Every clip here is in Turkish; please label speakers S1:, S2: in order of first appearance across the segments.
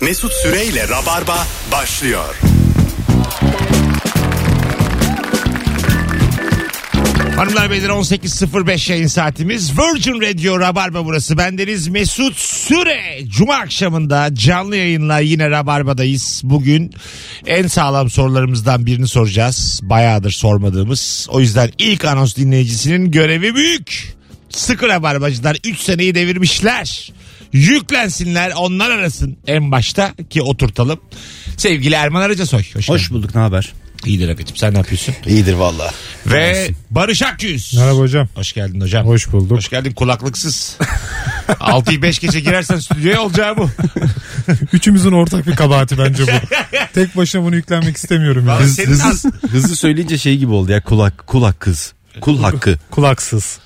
S1: Mesut Süreyle Rabarba başlıyor.
S2: Hanımlar beyler 18.05 yayın saatimiz. Virgin Radio Rabarba burası. Bendeniz Mesut Süre. Cuma akşamında canlı yayınla yine Rabarba'dayız. Bugün en sağlam sorularımızdan birini soracağız. Bayağıdır sormadığımız. O yüzden ilk anons dinleyicisinin görevi büyük. Sıkı Rabarbacılar 3 seneyi devirmişler. Yüklensinler onlar arasın en başta ki oturtalım. Sevgili Erman Aracasoy. Hoş,
S3: Hoş
S2: Hoş.
S3: bulduk ne haber?
S2: İyidir Efe'cim sen ne yapıyorsun?
S3: İyidir valla.
S2: Ve Barış Akyüz.
S4: Merhaba hocam.
S2: Hoş geldin hocam.
S4: Hoş bulduk.
S2: Hoş geldin kulaklıksız. 6'yı 5 gece girersen stüdyoya olacağı bu.
S4: Üçümüzün ortak bir kabahati bence bu. Tek başına bunu yüklenmek istemiyorum. Yani.
S2: Senin az-
S3: hızlı, hızlı söyleyince şey gibi oldu ya kulak kulak kız. Kul hakkı.
S4: Kulaksız.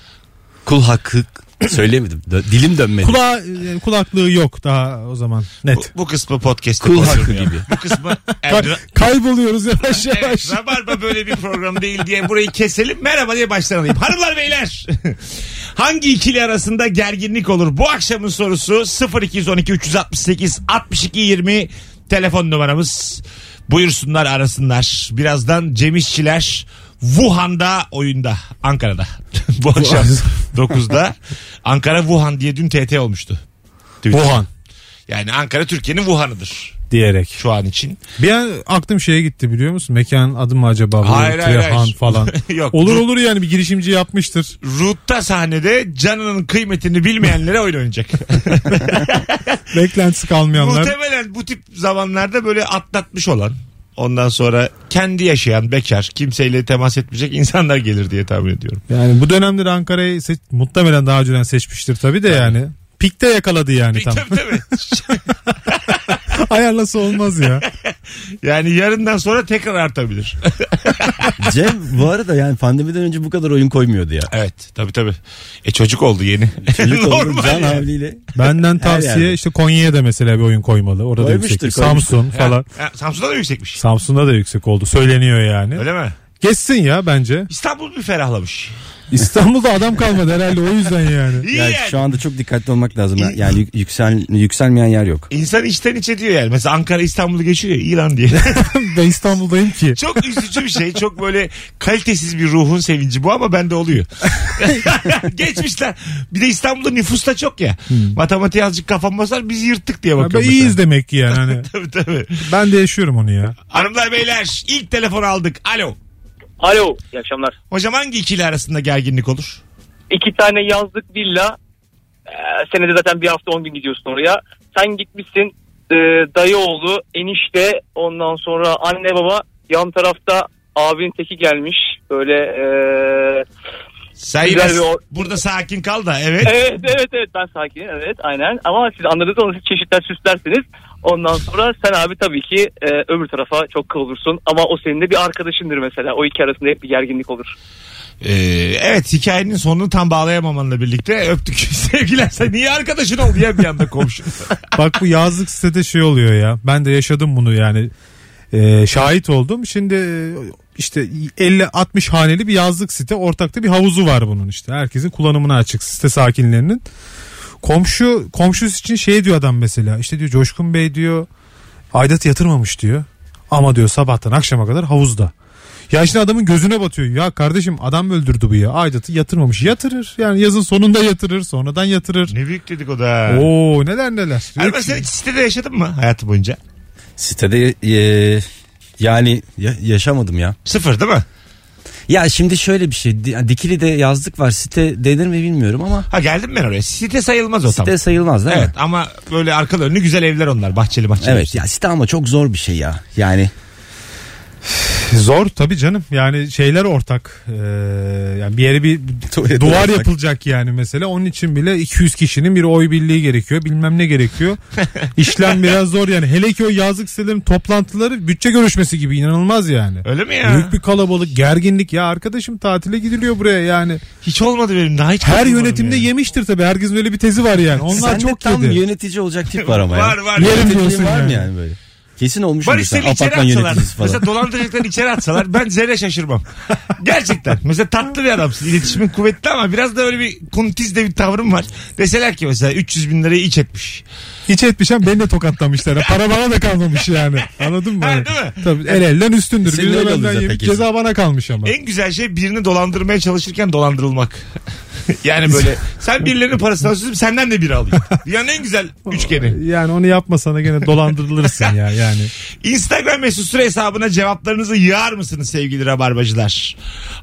S3: Kul hakkı söyleyemedim. Dö- dilim dönmedi.
S4: Kula e, kulaklığı yok daha o zaman.
S2: bu,
S4: Net.
S2: bu kısmı podcast'te
S3: Kul hakkı
S2: konuşulmuyor.
S3: gibi.
S2: Bu kısmı
S4: Kay-
S2: Erdoğan-
S4: kayboluyoruz yavaş yavaş.
S2: Evet, Rabarba böyle bir program değil diye burayı keselim. Merhaba diye baştan alayım. Hanımlar beyler. Hangi ikili arasında gerginlik olur? Bu akşamın sorusu 0212 368 62 20 telefon numaramız. Buyursunlar arasınlar. Birazdan Cem İşçiler Wuhan'da oyunda Ankara'da. Bu akşam 9'da Ankara Wuhan diye dün TT olmuştu.
S4: Wuhan
S2: Yani Ankara Türkiye'nin Wuhan'ıdır
S4: diyerek.
S2: şu an için.
S4: Bir an aklım şeye gitti biliyor musun? Mekanın adı mı acaba? Böyle
S2: Hayır, hayır,
S4: Trehan
S2: hayır.
S4: falan.
S2: Yok.
S4: Olur olur yani bir girişimci yapmıştır.
S2: Root'ta sahnede canının kıymetini bilmeyenlere oyun oynayacak.
S4: Beklentisi kalmayanlar.
S2: Muhtemelen bu tip zamanlarda böyle atlatmış olan ondan sonra kendi yaşayan bekar kimseyle temas etmeyecek insanlar gelir diye tahmin ediyorum.
S4: Yani bu dönemde de Ankara'yı seç- muhtemelen daha önceden seçmiştir tabii de yani. Pikte yakaladı yani tam.
S2: Tabii tabii.
S4: Ayarlası olmaz ya.
S2: yani yarından sonra tekrar artabilir.
S3: Cem bu arada yani pandemiden önce bu kadar oyun koymuyordu ya.
S2: evet tabii tabii. E çocuk oldu yeni.
S3: Çocuk oldu
S2: Normal
S3: can
S2: yani.
S3: havliyle.
S4: Benden tavsiye
S3: yerde.
S4: işte Konya'ya da mesela bir oyun koymalı. Orada da
S3: Koymuştur,
S4: yüksek.
S3: koymuştur.
S4: Samsun falan.
S2: Ha, Samsun'da da yüksekmiş.
S4: Samsun'da da yüksek oldu. Söyleniyor yani.
S2: Öyle mi?
S4: Geçsin ya bence.
S2: İstanbul bir ferahlamış.
S4: İstanbul'da adam kalmadı herhalde o yüzden yani.
S2: İyi
S3: Ya
S2: yani.
S3: şu anda çok dikkatli olmak lazım. ya. Yani yük- yüksel, yükselmeyen yer yok.
S2: İnsan içten içe diyor yani. Mesela Ankara İstanbul'u geçiyor ya iyi lan diye.
S4: ben İstanbul'dayım ki.
S2: Çok üzücü bir şey. Çok böyle kalitesiz bir ruhun sevinci bu ama bende oluyor. Geçmişler. Bir de İstanbul'da nüfus da çok ya. Matematiğe azıcık kafam basar biz yırttık diye
S4: Abi
S2: bakıyorum.
S4: Hmm. iyiyiz demek ki yani. Hani
S2: Tabii tabii.
S4: ben de yaşıyorum onu ya.
S2: Hanımlar beyler ilk telefon aldık. Alo.
S5: Alo, iyi akşamlar.
S2: Hocam hangi ikili arasında gerginlik olur?
S5: İki tane yazlık villa. Ee, senede zaten bir hafta on gün gidiyorsun oraya. Sen gitmişsin e, dayı oğlu, enişte, ondan sonra anne baba. Yan tarafta abinin teki gelmiş. Böyle e,
S2: Sen
S5: Güzel
S2: yine
S5: bir or-
S2: burada sakin kal da evet.
S5: evet evet evet ben sakinim evet aynen. Ama siz anladınız onu siz çeşitler süslersiniz. Ondan sonra sen abi tabii ki e, öbür tarafa çok kıvılırsun. Ama o senin de bir arkadaşındır mesela. O iki arasında hep bir gerginlik olur.
S2: Ee, evet hikayenin sonunu tam bağlayamamanla birlikte öptük. Sevgiler sen niye arkadaşın oldu ya bir anda komşu?
S4: Bak bu yazlık sitede şey oluyor ya. Ben de yaşadım bunu yani. Ee, şahit oldum. Şimdi e, işte 50-60 haneli bir yazlık site. Ortakta bir havuzu var bunun işte. Herkesin kullanımına açık site sakinlerinin. Komşu komşusu için şey diyor adam mesela. İşte diyor Coşkun Bey diyor aidat yatırmamış diyor. Ama diyor sabahtan akşama kadar havuzda. Ya şimdi adamın gözüne batıyor. Ya kardeşim adam öldürdü bu ya. Aidatı yatırmamış. Yatırır. Yani yazın sonunda yatırır. Sonradan yatırır.
S2: ne büyük dedik o da.
S4: Oo şey. neler neler.
S2: Erman sen hiç sitede yaşadın mı hayatı boyunca?
S3: Sitede e, yani ya- yaşamadım ya.
S2: Sıfır değil mi?
S3: Ya şimdi şöyle bir şey. Di- Dikili'de yazlık var. Site denir mi bilmiyorum ama
S2: Ha geldim ben oraya. Site sayılmaz o tam.
S3: site sayılmaz değil
S2: Evet
S3: mi?
S2: ama böyle arkalı önlü güzel evler onlar. Bahçeli bahçeli.
S3: Evet ya site ama çok zor bir şey ya. Yani
S4: Zor tabii canım. Yani şeyler ortak. Ee, yani bir yere bir
S3: Tuvalet
S4: duvar
S3: ortak.
S4: yapılacak yani mesela. Onun için bile 200 kişinin bir oy birliği gerekiyor. Bilmem ne gerekiyor. İşlem biraz zor yani. Hele ki o yazlık sitelerin toplantıları bütçe görüşmesi gibi inanılmaz yani.
S2: Öyle mi ya?
S4: Büyük bir kalabalık, gerginlik. Ya arkadaşım tatile gidiliyor buraya yani.
S2: Hiç olmadı benim daha hiç.
S4: Her
S2: katılmadım
S4: yönetimde
S2: yani.
S4: yemiştir tabii. Herkesin öyle bir tezi var yani. Onlar
S3: Sen
S4: çok
S3: de tam
S4: yedi.
S3: yönetici olacak tip var ama ya.
S2: Var var.
S4: Yerim
S3: Yöneticiliğin
S4: diyorsun
S3: var mı
S4: yani.
S3: yani böyle? Kesin olmuş
S2: Barış
S3: mesela
S2: seni içeri
S3: apartman
S2: atsalar.
S3: yöneticisi falan.
S2: Mesela dolandırıcılar içeri atsalar ben zerre şaşırmam. Gerçekten. Mesela tatlı bir adamsın. İletişimin kuvvetli ama biraz da öyle bir kuntiz de bir tavrım var. Deseler ki mesela 300 bin lirayı iç etmiş.
S4: Hiç etmişem beni de tokatlamışlar. Para bana da kalmamış yani. Anladın mı?
S2: Ha, değil mi?
S4: Tabii el elden üstündür.
S3: Senin
S4: Bir de
S3: öyle oluyor
S4: benden
S3: zaten
S4: yemiş,
S3: kesin.
S4: ceza bana kalmış ama.
S2: En güzel şey birini dolandırmaya çalışırken dolandırılmak. yani böyle sen birilerinin parasını alıyorsun senden de biri alıyor. Dünyanın en güzel üçgeni.
S4: Yani onu yapmasana gene dolandırılırsın ya yani.
S2: Instagram mesut süre hesabına cevaplarınızı yığar mısınız sevgili rabarbacılar?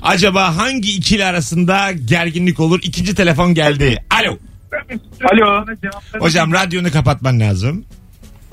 S2: Acaba hangi ikili arasında gerginlik olur? İkinci telefon geldi. Alo.
S6: Alo.
S2: Hocam radyonu kapatman lazım.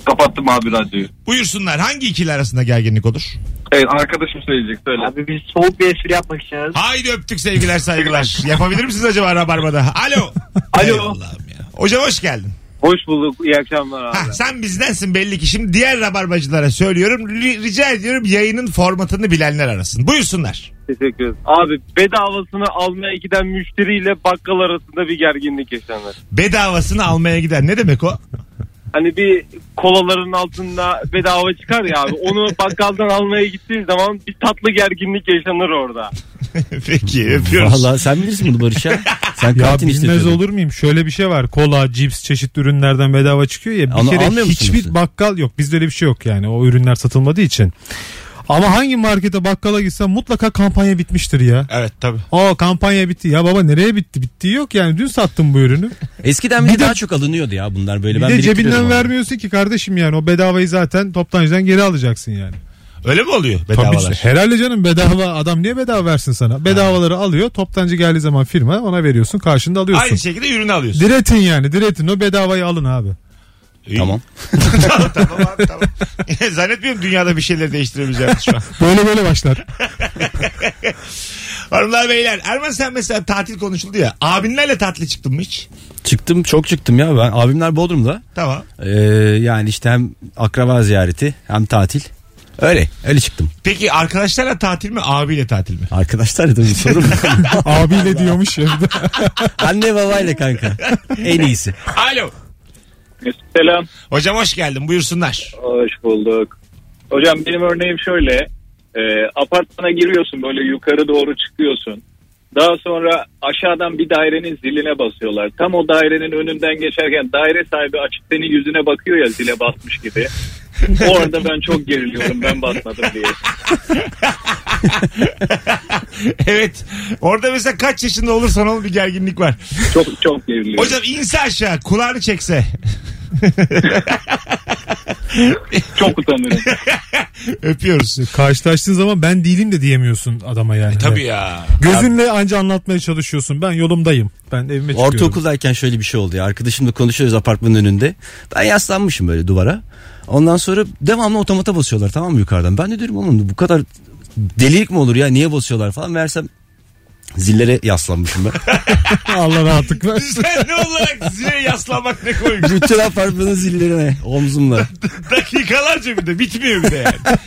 S6: Kapattım abi radyoyu.
S2: Buyursunlar hangi ikili arasında gerginlik olur?
S6: Evet arkadaşım söyleyecek söyle.
S5: Abi biz soğuk bir espri yapmak için aradık.
S2: Haydi öptük sevgiler saygılar. Yapabilir misiniz acaba rabarbada? Alo.
S6: Alo.
S2: Ey Allah'ım ya. Hocam hoş geldin.
S6: Hoş bulduk iyi akşamlar abi.
S2: Hah, sen bizdensin belli ki. Şimdi diğer rabarbacılara söylüyorum. Ri- Rica ediyorum yayının formatını bilenler arasın. Buyursunlar.
S6: Teşekkür ederim. Abi bedavasını almaya giden müşteriyle bakkal arasında bir gerginlik yaşanır.
S2: Bedavasını almaya giden ne demek o?
S6: Hani bir kolaların altında bedava çıkar ya abi. Onu bakkaldan almaya gittiğin zaman bir tatlı gerginlik yaşanır orada.
S2: Peki öpüyoruz.
S3: Valla sen bilirsin bunu Barış ya. Sen
S4: Ya
S3: kantin
S4: bilmez
S3: işletiyordun.
S4: olur muyum? Şöyle bir şey var. Kola, cips çeşitli ürünlerden bedava çıkıyor ya. Bir
S3: Onu
S4: kere
S3: almıyor musunuz
S4: hiçbir
S3: siz?
S4: bakkal yok. Bizde öyle bir şey yok yani. O ürünler satılmadığı için. Ama hangi markete bakkala gitsen mutlaka kampanya bitmiştir ya.
S2: Evet tabii.
S4: Aa kampanya bitti. Ya baba nereye bitti? Bittiği yok yani. Dün sattım bu ürünü.
S3: Eskiden bir
S4: Bir de-
S3: daha çok alınıyordu ya bunlar böyle.
S4: Bir
S3: ben
S4: de
S3: biriktiriyorum
S4: cebinden
S3: ama.
S4: vermiyorsun ki kardeşim yani. O bedavayı zaten toptancıdan geri alacaksın yani.
S2: Öyle mi oluyor
S4: Tabii
S2: bedavalar?
S4: işte. herhalde canım bedava adam niye bedava versin sana? Bedavaları alıyor. Toptancı geldiği zaman firma ona veriyorsun. Karşında alıyorsun.
S2: Aynı şey. şekilde ürünü alıyorsun.
S4: Diretin yani diretin o bedavayı alın abi.
S2: İyi.
S3: Tamam.
S2: tamam tamam abi, tamam. Zannetmiyorum dünyada bir şeyleri değiştirebileceğimiz şu an.
S4: Böyle böyle başlar.
S2: Hanımlar beyler Erman sen mesela tatil konuşuldu ya. Abinlerle tatile çıktın mı hiç?
S3: Çıktım çok çıktım ya ben. Abimler Bodrum'da.
S2: Tamam.
S3: Ee, yani işte hem akraba ziyareti hem tatil. Öyle öyle çıktım.
S2: Peki arkadaşlarla tatil mi abiyle tatil mi?
S3: Arkadaşlar da bir sorun mu?
S4: Abiyle diyormuş ya. bir de.
S3: Anne babayla kanka. En iyisi.
S2: Alo.
S5: Selam.
S2: Hocam hoş geldin buyursunlar.
S5: Hoş bulduk. Hocam benim örneğim şöyle. E, apartmana giriyorsun böyle yukarı doğru çıkıyorsun. Daha sonra aşağıdan bir dairenin ziline basıyorlar. Tam o dairenin önünden geçerken daire sahibi açık senin yüzüne bakıyor ya zile basmış gibi. Orada ben çok geriliyorum ben basmadım diye.
S2: evet. Orada mesela kaç yaşında olursan ol bir gerginlik var.
S5: Çok çok geriliyorum.
S2: Hocam inse aşağı kulağını çekse.
S5: Çok utanıyorum.
S2: Öpüyoruz.
S4: Karşılaştığın zaman ben değilim de diyemiyorsun adama yani.
S2: E
S4: Hani
S2: Tabii ya.
S4: Gözünle anca anlatmaya çalışıyorsun. Ben yolumdayım. Ben evime çıkıyorum.
S3: Ortaokuldayken şöyle bir şey oldu ya. Arkadaşımla konuşuyoruz apartmanın önünde. Ben yaslanmışım böyle duvara. Ondan sonra devamlı otomata basıyorlar tamam mı yukarıdan. Ben de diyorum oğlum bu kadar delilik mi olur ya niye basıyorlar falan. Meğersem zillere yaslanmışım ben.
S4: Allah rahatlık versin.
S2: Düzenli olarak zile yaslanmak ne koymuş.
S3: Bütün apartmanın zillerine omzumla.
S2: Dakikalarca bir de bitmiyor bir de yani.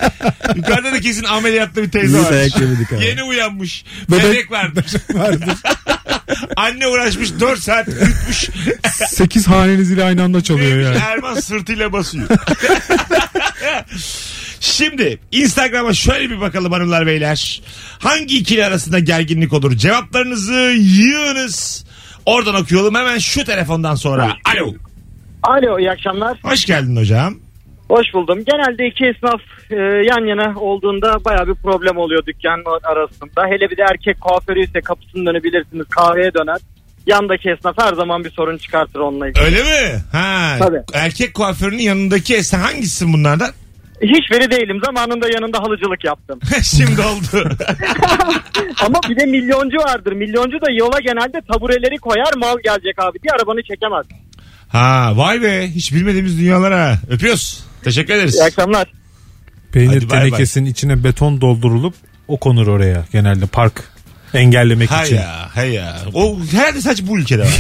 S2: Yukarıda da kesin ameliyatlı bir teyze
S3: Biz
S2: varmış.
S3: dayak yemedik abi.
S2: Yeni uyanmış. Bebek,
S4: Bebek-
S2: vardır. Anne uğraşmış 4 saat yutmuş.
S4: 8 haneniz ile aynı anda çalıyor yani.
S2: Erman sırtıyla basıyor. Şimdi Instagram'a şöyle bir bakalım hanımlar beyler. Hangi ikili arasında gerginlik olur? Cevaplarınızı yığınız. Oradan okuyalım hemen şu telefondan sonra. Alo.
S7: Alo iyi akşamlar.
S2: Hoş geldin hocam.
S7: Hoş buldum. Genelde iki esnaf e, yan yana olduğunda baya bir problem oluyor dükkan arasında. Hele bir de erkek kuaförüyse kapısının önü bilirsiniz kahveye döner. Yandaki esnaf her zaman bir sorun çıkartır onunla ilgili.
S2: Öyle mi? Ha.
S7: Tabii.
S2: Erkek kuaförünün yanındaki esen hangisisin bunlardan?
S7: Hiçbiri değilim zamanında yanında halıcılık yaptım.
S2: Şimdi oldu.
S7: Ama bir de milyoncu vardır. Milyoncu da yola genelde tabureleri koyar mal gelecek abi diye arabanı çekemez.
S2: ha vay be hiç bilmediğimiz dünyalara öpüyoruz. Teşekkür ederiz.
S7: İyi akşamlar.
S2: Hadi
S4: Peynir
S2: bay bay.
S4: tenekesinin içine beton doldurulup o konur oraya genelde park engellemek
S2: Ha
S4: için.
S2: ya, ha ya. O herhalde sadece bu ülkede var.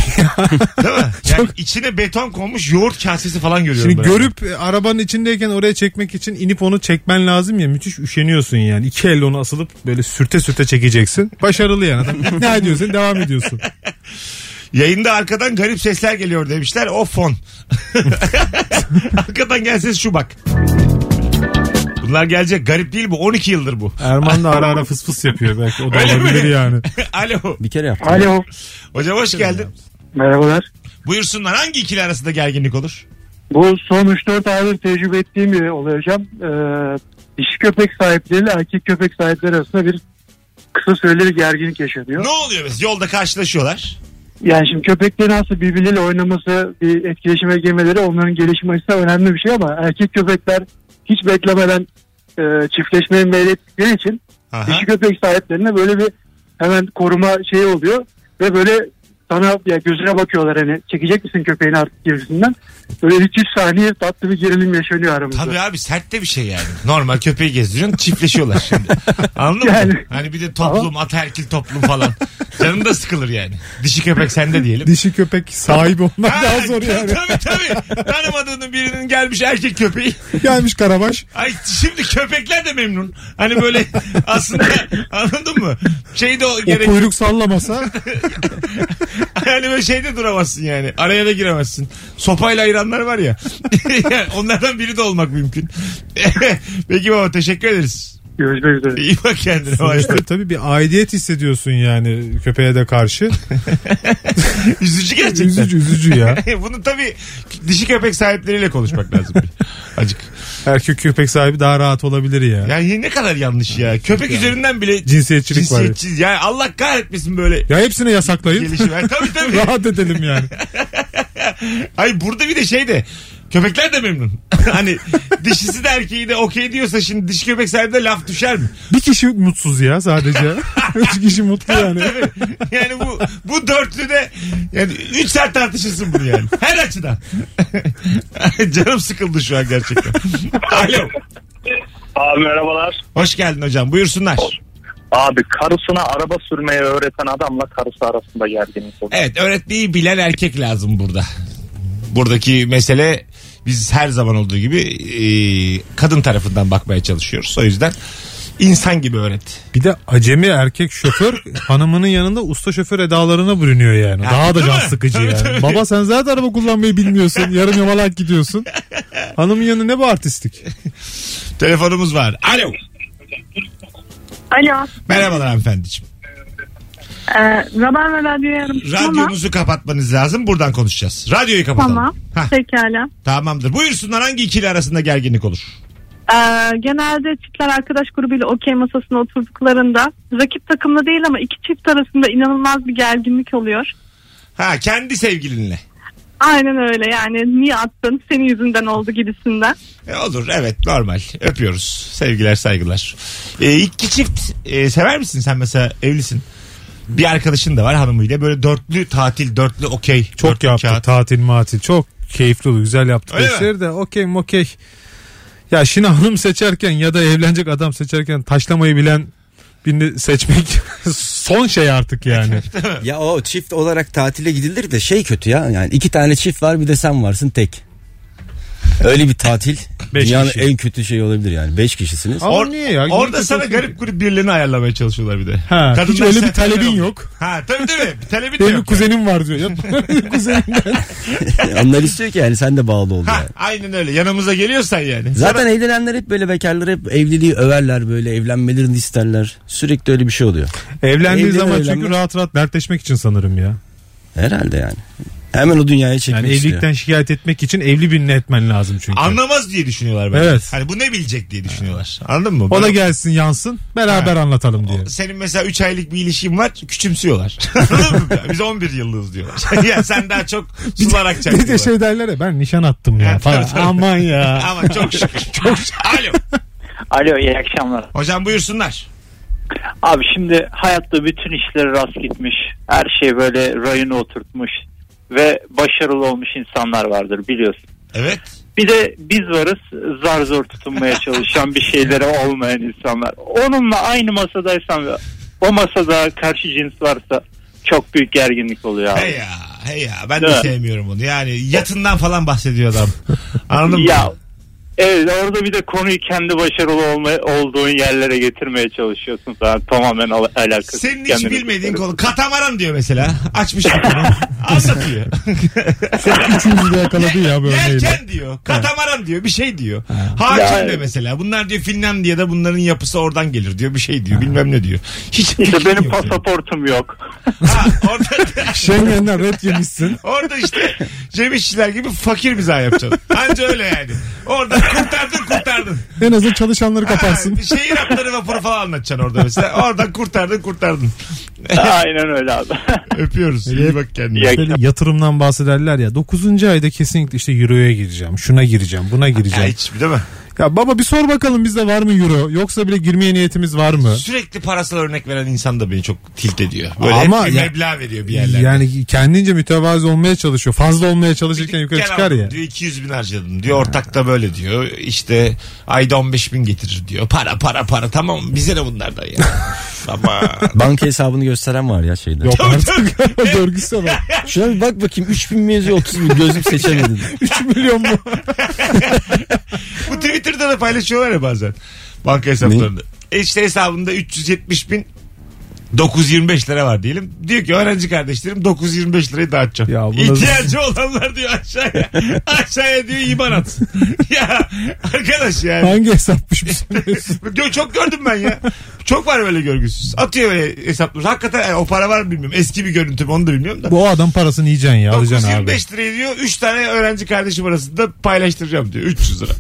S2: Değil mi? Yani içine beton konmuş yoğurt kasesi falan görüyorum.
S4: Şimdi
S2: ben.
S4: görüp e, arabanın içindeyken oraya çekmek için inip onu çekmen lazım ya müthiş üşeniyorsun yani. İki elle onu asılıp böyle sürte sürte çekeceksin. Başarılı yani adam ikna ediyorsun devam ediyorsun.
S2: Yayında arkadan garip sesler geliyor demişler. O fon. arkadan gel ses şu bak. Bunlar gelecek. Garip değil bu. 12 yıldır bu.
S4: Erman da ara ara fıs fıs yapıyor belki o da
S2: Öyle mi?
S4: olabilir yani.
S2: Alo.
S3: Bir kere yaptım.
S7: Alo.
S2: Hocam hoş geldin.
S7: Merhabalar.
S2: Buyursunlar hangi ikili arasında gerginlik olur?
S8: Bu son 3-4 aydır tecrübe ettiğim bir olay hocam. Ee, dişi köpek sahipleriyle erkek köpek sahipleri arasında bir kısa süreli bir gerginlik yaşanıyor.
S2: Ne oluyor biz? Yolda karşılaşıyorlar.
S8: Yani şimdi köpeklerin aslında birbirleriyle oynaması, bir etkileşime girmeleri onların gelişmesi de önemli bir şey ama erkek köpekler hiç beklemeden e, çiftleşmeye meylettikleri için
S2: Aha.
S8: dişi köpek sahiplerine böyle bir hemen koruma şeyi oluyor ve böyle sana ya gözüne bakıyorlar hani çekecek misin köpeğini artık gerisinden. Böyle 2-3 saniye tatlı bir gerilim yaşanıyor aramızda.
S2: Tabii abi sert de bir şey yani. Normal köpeği gezdiriyorsun çiftleşiyorlar şimdi. Anladın mı?
S8: Yani.
S2: Hani bir de toplum ataerkil toplum falan. Canın da sıkılır yani. Dişi köpek sende diyelim.
S4: Dişi köpek sahibi olmak
S2: Ha,
S4: daha zor yani.
S2: Tabii tabii. Tanımadığının birinin gelmiş erkek köpeği.
S4: Gelmiş Karabaş.
S2: Ay şimdi köpekler de memnun. Hani böyle aslında anladın mı? Şey de o
S4: O
S2: gerek.
S4: kuyruk sallamasa
S2: Yani böyle şeyde duramazsın yani. Araya da giremezsin. Sopayla ayıranlar var ya. Yani Onlardan biri de olmak mümkün. Peki baba teşekkür ederiz.
S8: Görüşmek üzere.
S2: İyi bak kendine. Vay.
S4: sonuçta tabii bir aidiyet hissediyorsun yani köpeğe de karşı.
S2: Üzücü gerçekten.
S4: üzücü üzücü ya.
S2: Bunu tabii dişi köpek sahipleriyle konuşmak lazım. bir. Acık.
S4: Erkek köpek sahibi daha rahat olabilir ya.
S2: Yani ne kadar yanlış ya. Köpek üzerinden bile
S4: Cinsiyetçilik var.
S2: cinsiyetçi. Yani Allah kahretmesin böyle
S4: Ya hepsini yasaklayın.
S2: gelişim. Yani tabii tabii.
S4: rahat edelim yani.
S2: Ay burada bir de şey de köpekler de memnun. hani dişisi de erkeği de okey diyorsa şimdi dişi köpek sahibi de laf düşer mi?
S4: Bir kişi mutsuz ya sadece. Üç kişi mutlu yani.
S2: yani bu bu dörtlü de yani 3 saat tartışırsın bunu yani. Her açıdan. Canım sıkıldı şu an gerçekten. Alo.
S5: Abi merhabalar.
S2: Hoş geldin hocam. Buyursunlar.
S5: Abi karısına araba sürmeyi öğreten adamla karısı arasında gerginlik oluyor.
S2: Evet öğretmeyi bilen erkek lazım burada. Buradaki mesele biz her zaman olduğu gibi e, kadın tarafından bakmaya çalışıyoruz. O yüzden insan gibi öğret.
S4: Bir de acemi erkek şoför hanımının yanında usta şoför edalarına bürünüyor yani.
S2: Ya,
S4: Daha da
S2: değil
S4: can
S2: mi?
S4: sıkıcı
S2: Tabii,
S4: yani.
S2: tabii.
S4: Baba sen zaten araba kullanmayı bilmiyorsun. Yarım yamalak gidiyorsun. Hanımın yanı ne bu artistlik?
S2: Telefonumuz var. Alo.
S9: Alo.
S2: Merhabalar hanımefendiciğim.
S9: E, Rabarba Radyo'yu aramıştım ama.
S2: Radyonuzu kapatmanız lazım. Buradan konuşacağız. Radyoyu kapatalım.
S9: Tamam.
S2: Hah,
S9: Pekala.
S2: tamamdır. Buyursunlar hangi ikili arasında gerginlik olur?
S9: Ee, genelde çiftler arkadaş grubuyla okey masasına oturduklarında rakip takımlı değil ama iki çift arasında inanılmaz bir gerginlik oluyor.
S2: Ha kendi sevgilinle.
S9: Aynen öyle yani niye attın senin yüzünden oldu gibisinden.
S2: E, olur evet normal. Öpüyoruz. Sevgiler saygılar. E, iki çift e, sever misin sen mesela evlisin? Bir arkadaşın da var hanımıyla böyle dörtlü tatil dörtlü okey.
S4: Çok
S2: dörtlü
S4: yaptı
S2: kağıt.
S4: tatil matil. Çok keyifli oldu. Güzel yaptık.
S2: Öyle mi?
S4: Eşleri de okey okey. Ya şimdi hanım seçerken ya da evlenecek adam seçerken taşlamayı bilen birini seçmek son şey artık yani.
S3: Ya o çift olarak tatile gidilir de şey kötü ya. Yani iki tane çift var bir de sen varsın tek. Öyle bir tatil
S4: Beş
S3: dünyanın
S4: kişi.
S3: en kötü şey olabilir yani. Beş kişisiniz.
S4: Ama
S2: Or-
S4: niye ya?
S2: Orada
S4: Gerçekten
S2: sana
S4: çok-
S2: garip grup birilerini ayarlamaya çalışıyorlar bir de.
S4: Ha, hiç
S2: Kadınlar
S4: öyle bir
S2: seferber
S4: talebin
S2: oluyor.
S4: yok.
S2: Ha tabii tabii. Bir talebin
S4: Benim
S2: de
S4: bir şey
S2: yok.
S4: kuzenim var diyor. Ya, Kuzenimden.
S3: Onlar istiyor ki yani sen de bağlı ol.
S2: Ha,
S3: yani.
S2: aynen öyle. Yanımıza geliyorsan yani.
S3: Zaten evlenenler hep böyle bekarlar hep evliliği överler böyle evlenmelerini isterler. Sürekli öyle bir şey oluyor.
S4: Evlendiği
S3: Evlenir,
S4: zaman çünkü
S3: evlenmez.
S4: rahat rahat dertleşmek için sanırım ya.
S3: Herhalde yani. Hemen o dünyaya çekmek
S4: Yani
S3: istiyor.
S4: evlilikten şikayet etmek için evli birini etmen lazım çünkü.
S2: Anlamaz diye düşünüyorlar bence.
S4: Evet.
S2: Hani bu ne bilecek diye düşünüyorlar. Anladın mı?
S4: o da
S2: Ben-
S4: gelsin yansın beraber anlatalım diye.
S2: senin mesela 3 aylık bir ilişkin var küçümsüyorlar. Anladın mı? Biz 11 yıllık diyorlar. ya sen daha çok sular akacak.
S4: Bir de
S2: diyorlar.
S4: şey derler ya ben nişan attım ya
S2: Evet,
S4: falan.
S2: tabii, tabii.
S4: Aman ya.
S2: Ama çok şükür. Çok şükür. Alo.
S10: Alo iyi akşamlar.
S2: Hocam buyursunlar.
S10: Abi şimdi hayatta bütün işleri rast gitmiş. Her şey böyle rayına oturtmuş. Ve başarılı olmuş insanlar vardır biliyorsun.
S2: Evet.
S10: Bir de biz varız zar zor tutunmaya çalışan bir şeylere olmayan insanlar. Onunla aynı masadaysan ve o masada karşı cins varsa çok büyük gerginlik oluyor abi.
S2: Hey ya. Hey ya. Ben de
S10: Evet.
S2: sevmiyorum onu. Yani yatından falan bahsediyor adam. Anladın mı?
S10: Ya Evet orada bir de konuyu kendi başarılı olma, olduğun yerlere getirmeye çalışıyorsun falan tamamen al- alakası.
S2: Senin hiç
S10: Kendini-
S2: bilmediğin konu. Katamaran diyor mesela. Açmış kapını. Anlatıyor.
S4: Üçümüzü de yakaladı ya bu örneğiyle.
S2: Yelken diyor. Katamaran diyor. Bir şey diyor. Hakim
S10: Yani-
S2: de mesela. Bunlar diyor Finlandiya'da bunların yapısı oradan gelir diyor. Bir şey diyor. Bilmem ne diyor. Hiç
S10: İşte
S2: fikrin
S10: benim
S2: yok
S10: pasaportum yok.
S2: yani. Ha, orada,
S4: Schengen'den red yemişsin.
S2: orada işte Cem İşçiler gibi fakir bize yapacaksın. Anca öyle yani. Orada kurtardın kurtardın.
S4: En azından çalışanları kaparsın.
S2: Ha, şehir hatları vapuru falan anlatacaksın orada mesela. Oradan kurtardın kurtardın.
S10: Aynen öyle abi.
S2: Öpüyoruz. İyi bak kendine.
S10: Ya-
S4: Böyle yatırımdan bahsederler ya 9. ayda kesinlikle işte euroya gireceğim şuna gireceğim buna
S2: Ya
S4: gireceğim.
S2: hiç değil mi?
S4: Ya baba bir sor bakalım bizde var mı euro yoksa bile girmeye niyetimiz var mı?
S2: Sürekli parasal örnek veren insan da beni çok tilt ediyor. Böyle
S4: Ama
S2: hep bir
S4: ya-
S2: meblağ veriyor bir yerlerde.
S4: Yani kendince mütevazı olmaya çalışıyor. Fazla olmaya çalışırken yukarı
S2: Gel
S4: çıkar
S2: aldım
S4: ya.
S2: Diyor 200 bin harcadım diyor. Ortak da böyle diyor. İşte ayda 15 bin getirir diyor. Para para para tamam bize ne bunlardan ya. Ama
S3: Banka hesabını gösteren var ya şeyde.
S4: Yok artık görgüsel bak.
S3: Şuna bir bak bakayım 3000 mi yazıyor 30 bin gözüm seçemedim.
S4: 3 milyon mu?
S2: bu Twitter'da da paylaşıyorlar ya bazen. Banka hesaplarında. E işte hesabında 370 bin 925 lira var diyelim. Diyor ki öğrenci kardeşlerim 925 lirayı dağıtacağım.
S4: Ya bu nasıl-
S2: İhtiyacı olanlar diyor aşağıya. aşağıya diyor iban at. ya arkadaş yani.
S4: Hangi hesapmış bu?
S2: Gö- Çok gördüm ben ya. Çok var böyle görgüsüz. Atıyor böyle hesapları. Hakikaten yani o para var mı bilmiyorum. Eski bir görüntü mü onu da bilmiyorum da.
S4: Bu o adam parasını yiyeceksin ya alacaksın abi.
S2: 925 liraya diyor 3 tane öğrenci kardeşim arasında paylaştıracağım diyor 300 lira.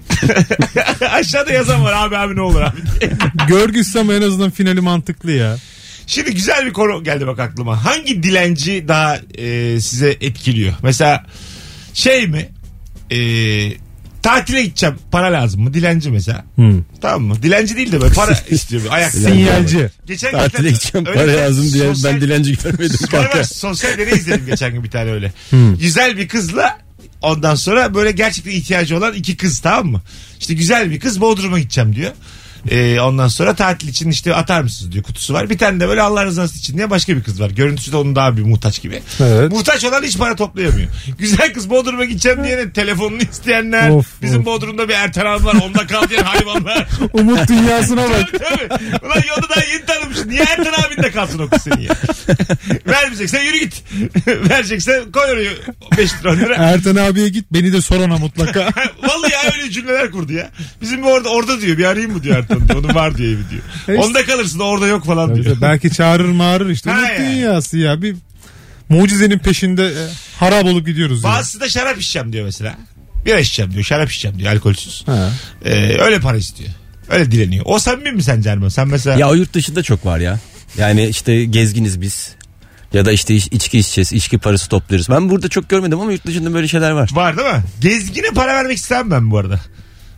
S2: Aşağıda yazan var abi abi ne olur abi diye.
S4: Görgüsel ama en azından finali mantıklı ya.
S2: Şimdi güzel bir konu geldi bak aklıma. Hangi dilenci daha e, size etkiliyor? Mesela şey mi? E, tatile gideceğim para lazım mı? Dilenci mesela.
S3: Hmm.
S2: Tamam mı? Dilenci değil de böyle para istiyor. Ayak
S4: Sinyalci.
S2: Geçen
S3: Tatile
S2: geçen-
S3: gideceğim
S2: öyle
S3: para
S2: bir
S3: lazım diye
S2: sosyal-
S3: ben dilenci görmedim
S2: Var
S3: kanka.
S2: var, sosyal deney izledim geçen gün bir tane öyle.
S4: Hmm.
S2: Güzel bir kızla ondan sonra böyle gerçekten ihtiyacı olan iki kız tamam mı? İşte güzel bir kız Bodrum'a gideceğim diyor. Ee, ondan sonra tatil için işte atar mısınız diyor kutusu var. Bir tane de böyle Allah rızası için diye başka bir kız var. Görüntüsü de onun daha bir muhtaç gibi.
S4: Evet.
S2: Muhtaç olan hiç para toplayamıyor. Güzel kız Bodrum'a gideceğim diyene telefonunu isteyenler.
S4: Of,
S2: bizim
S4: of.
S2: Bodrum'da bir Ertan abi var onda kal diyen hayvanlar.
S4: Umut dünyasına bak.
S2: Tabii. Ulan yolda daha yeni tanımışsın. Niye Ertan abin de kalsın o kız seni ya? Vermeyeceksen yürü git. Vereceksen koy oraya 5 lira 10 lira.
S4: Ertan abiye git beni de sor ona mutlaka.
S2: Vallahi öyle cümleler kurdu ya. Bizim bir orada orada diyor. Bir arayayım mı diyor Ertan diyor. Onun var diyor evi diyor. Onda kalırsın orada yok falan diyor.
S4: Evet, Belki çağırır mağırır işte.
S2: Ha
S4: Umut
S2: yani.
S4: dünyası ya. Bir mucizenin peşinde e, harap olup gidiyoruz ya.
S2: Bazısı da şarap içeceğim diyor mesela. Bira içeceğim diyor. Şarap içeceğim diyor. Alkolsüz.
S4: Ha.
S2: Ee, öyle para istiyor. Öyle dileniyor. O samimi mi sence Erman? Sen mesela...
S3: Ya o yurt dışında çok var ya. Yani işte gezginiz biz. Ya da işte iç- içki içeceğiz, içki parası topluyoruz. Ben burada çok görmedim ama yurt dışında böyle şeyler var.
S2: Var değil mi? Gezgine para vermek istemem ben bu arada.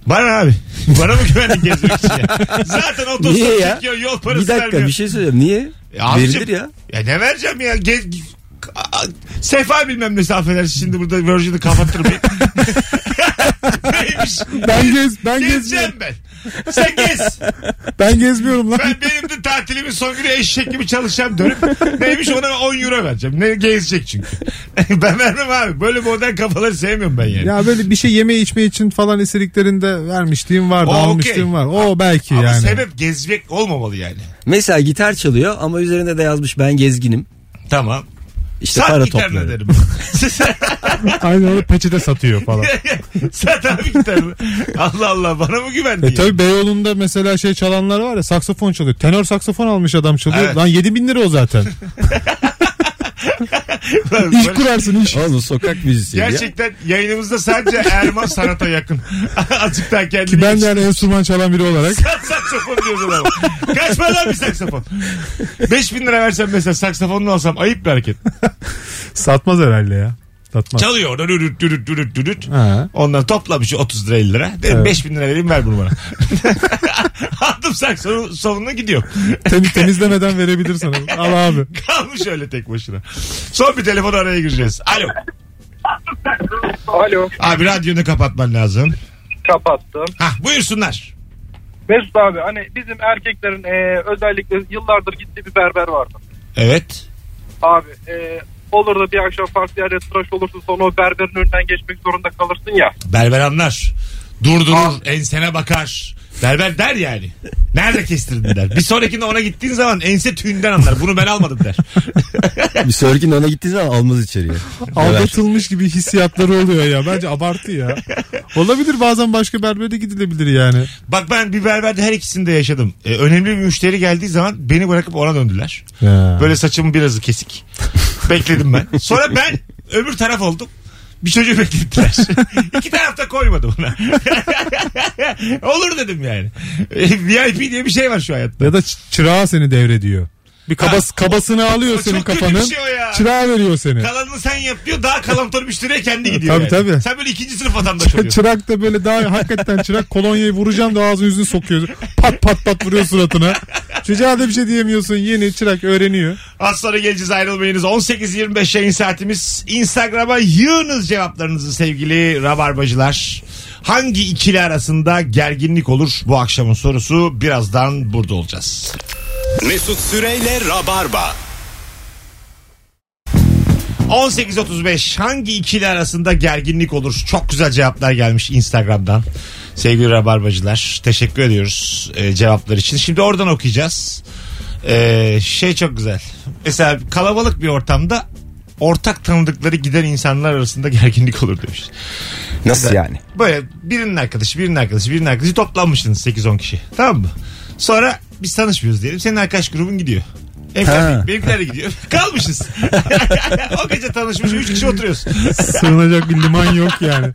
S2: Bana ne abi? Bana mı güvendin gezmek için? ya? Zaten
S3: Niye
S2: otostop
S3: ya?
S2: çekiyor yol parası
S3: Bir dakika
S2: vermiyor.
S3: bir şey söyleyeyim. Niye?
S2: E Abicim,
S3: Verilir ya.
S2: Ya ne vereceğim ya? Gez... A- Sefa bilmem nesi affedersin şimdi burada Virgin'i kapatırım. Neymiş?
S4: Ben gez ben gezmiyorum.
S2: Gezeceğim ben. Sen gez.
S4: Ben gezmiyorum lan.
S2: Ben benim de tatilimin son günü eşek gibi çalışacağım dönüp neymiş ona 10 euro vereceğim. Ne gezecek çünkü. ben vermem abi. Böyle modern kafaları sevmiyorum ben yani.
S4: Ya böyle bir şey yeme içme için falan istediklerinde vermişliğim vardı,
S2: O okey.
S4: almışlığım var. O belki
S2: Ama
S4: yani.
S2: sebep gezmek olmamalı yani.
S3: Mesela gitar çalıyor ama üzerinde de yazmış ben gezginim.
S2: Tamam.
S4: E,
S3: İşte
S2: Sat
S3: para
S2: gitarını
S3: topluyorum.
S2: derim.
S4: Aynı onu peçete satıyor falan.
S2: Sat abi gitarını. Allah Allah bana mı güvendin?
S4: E
S2: ya?
S4: tabi Beyoğlu'nda mesela şey çalanlar var ya saksafon çalıyor. Tenor saksafon almış adam çalıyor.
S2: Evet.
S4: Lan 7000 lira o zaten.
S2: Böyle-
S4: iş kurarsın iş.
S3: Oğlum sokak müzisyeni ya.
S2: Gerçekten yayınımızda sadece Erman sanata yakın. Azıcık daha kendini
S4: Ki ben de yani enstrüman çalan biri olarak.
S2: Sat saksafon diyoruz adama. Kaç para lan bir saksafon? 5000 lira versem mesela saksafonunu alsam ayıp bir hareket.
S4: Satmaz herhalde ya. Satmaz.
S2: Çalıyor orada dürüt dürüt dürüt dürüt.
S4: Ha.
S2: Ondan toplamış 30 lira 50 lira. Dedim 5000 lira vereyim ver bunu bana. Aldım saksafonunu gidiyor.
S4: Temiz, temizlemeden verebilir sana. Al abi.
S2: Kalmış öyle tek başına. Son bir telefon araya gireceğiz. Alo.
S5: Alo
S2: Abi radyonu kapatman lazım.
S5: kapattım.
S2: Hah buyursunlar.
S5: Mesut abi hani bizim erkeklerin e, özellikle yıllardır gittiği bir berber vardı.
S2: Evet.
S5: Abi e, olur da bir akşam farklı yerde tıraş olursun sonra o berberin önünden geçmek zorunda kalırsın ya.
S2: Berberanlar. Durdurur, ensene bakar. Berber der yani. Nerede kestirdin der. Bir sonrakinde ona gittiğin zaman ense tüyünden anlar. Bunu ben almadım der.
S3: Bir sonrakinde ona gittiği zaman almaz içeriye. Döver.
S4: Aldatılmış gibi hissiyatları oluyor ya. Bence abartı ya. Olabilir bazen başka berbere de gidilebilir yani.
S2: Bak ben bir berberde her ikisinde yaşadım. Ee, önemli bir müşteri geldiği zaman beni bırakıp ona döndüler. Böyle saçımın birazı kesik. Bekledim ben. Sonra ben öbür taraf oldum. Bir çocuğu beklettiler. İki tarafta koymadı buna. Olur dedim yani. E, VIP diye bir şey var şu hayatta.
S4: Ya da ç- çırağı seni devrediyor. Bir kabas, kabasını alıyor
S2: o
S4: senin
S2: çok kötü
S4: kafanın.
S2: bir şey o ya.
S4: Çırağı veriyor seni.
S2: Kalanını sen yap diyor. Daha kalamtör müşteriye kendi gidiyor
S4: Tabii,
S2: yani.
S4: tabii.
S2: Sen böyle ikinci sınıf vatandaş oluyorsun.
S4: Çırak da böyle daha hakikaten çırak kolonyayı vuracağım da ağzını yüzünü sokuyor. Pat pat pat vuruyor suratına. Çocuğa da bir şey diyemiyorsun. Yeni çırak öğreniyor.
S2: Az sonra geleceğiz ayrılmayınız. 18.25 yayın saatimiz. Instagram'a yığınız cevaplarınızı sevgili rabarbacılar. Hangi ikili arasında gerginlik olur bu akşamın sorusu birazdan burada olacağız.
S1: Mesut Süreyle Rabarba.
S2: 18.35 hangi ikili arasında gerginlik olur? Çok güzel cevaplar gelmiş Instagram'dan. Sevgili Rabarbacılar teşekkür ediyoruz e, cevaplar için. Şimdi oradan okuyacağız. E, şey çok güzel. Mesela kalabalık bir ortamda ortak tanıdıkları giden insanlar arasında gerginlik olur demiş.
S3: Nasıl yani?
S2: Böyle birinin arkadaşı, birinin arkadaşı, birinin arkadaşı toplanmışsınız 8-10 kişi. Tamam mı? Sonra biz tanışmıyoruz diyelim. Senin arkadaş grubun gidiyor.
S3: Ha.
S2: Evlendik. Benimkiler de gidiyor. Kalmışız. o gece tanışmış 3 kişi oturuyoruz.
S4: Sığınacak bir liman yok yani.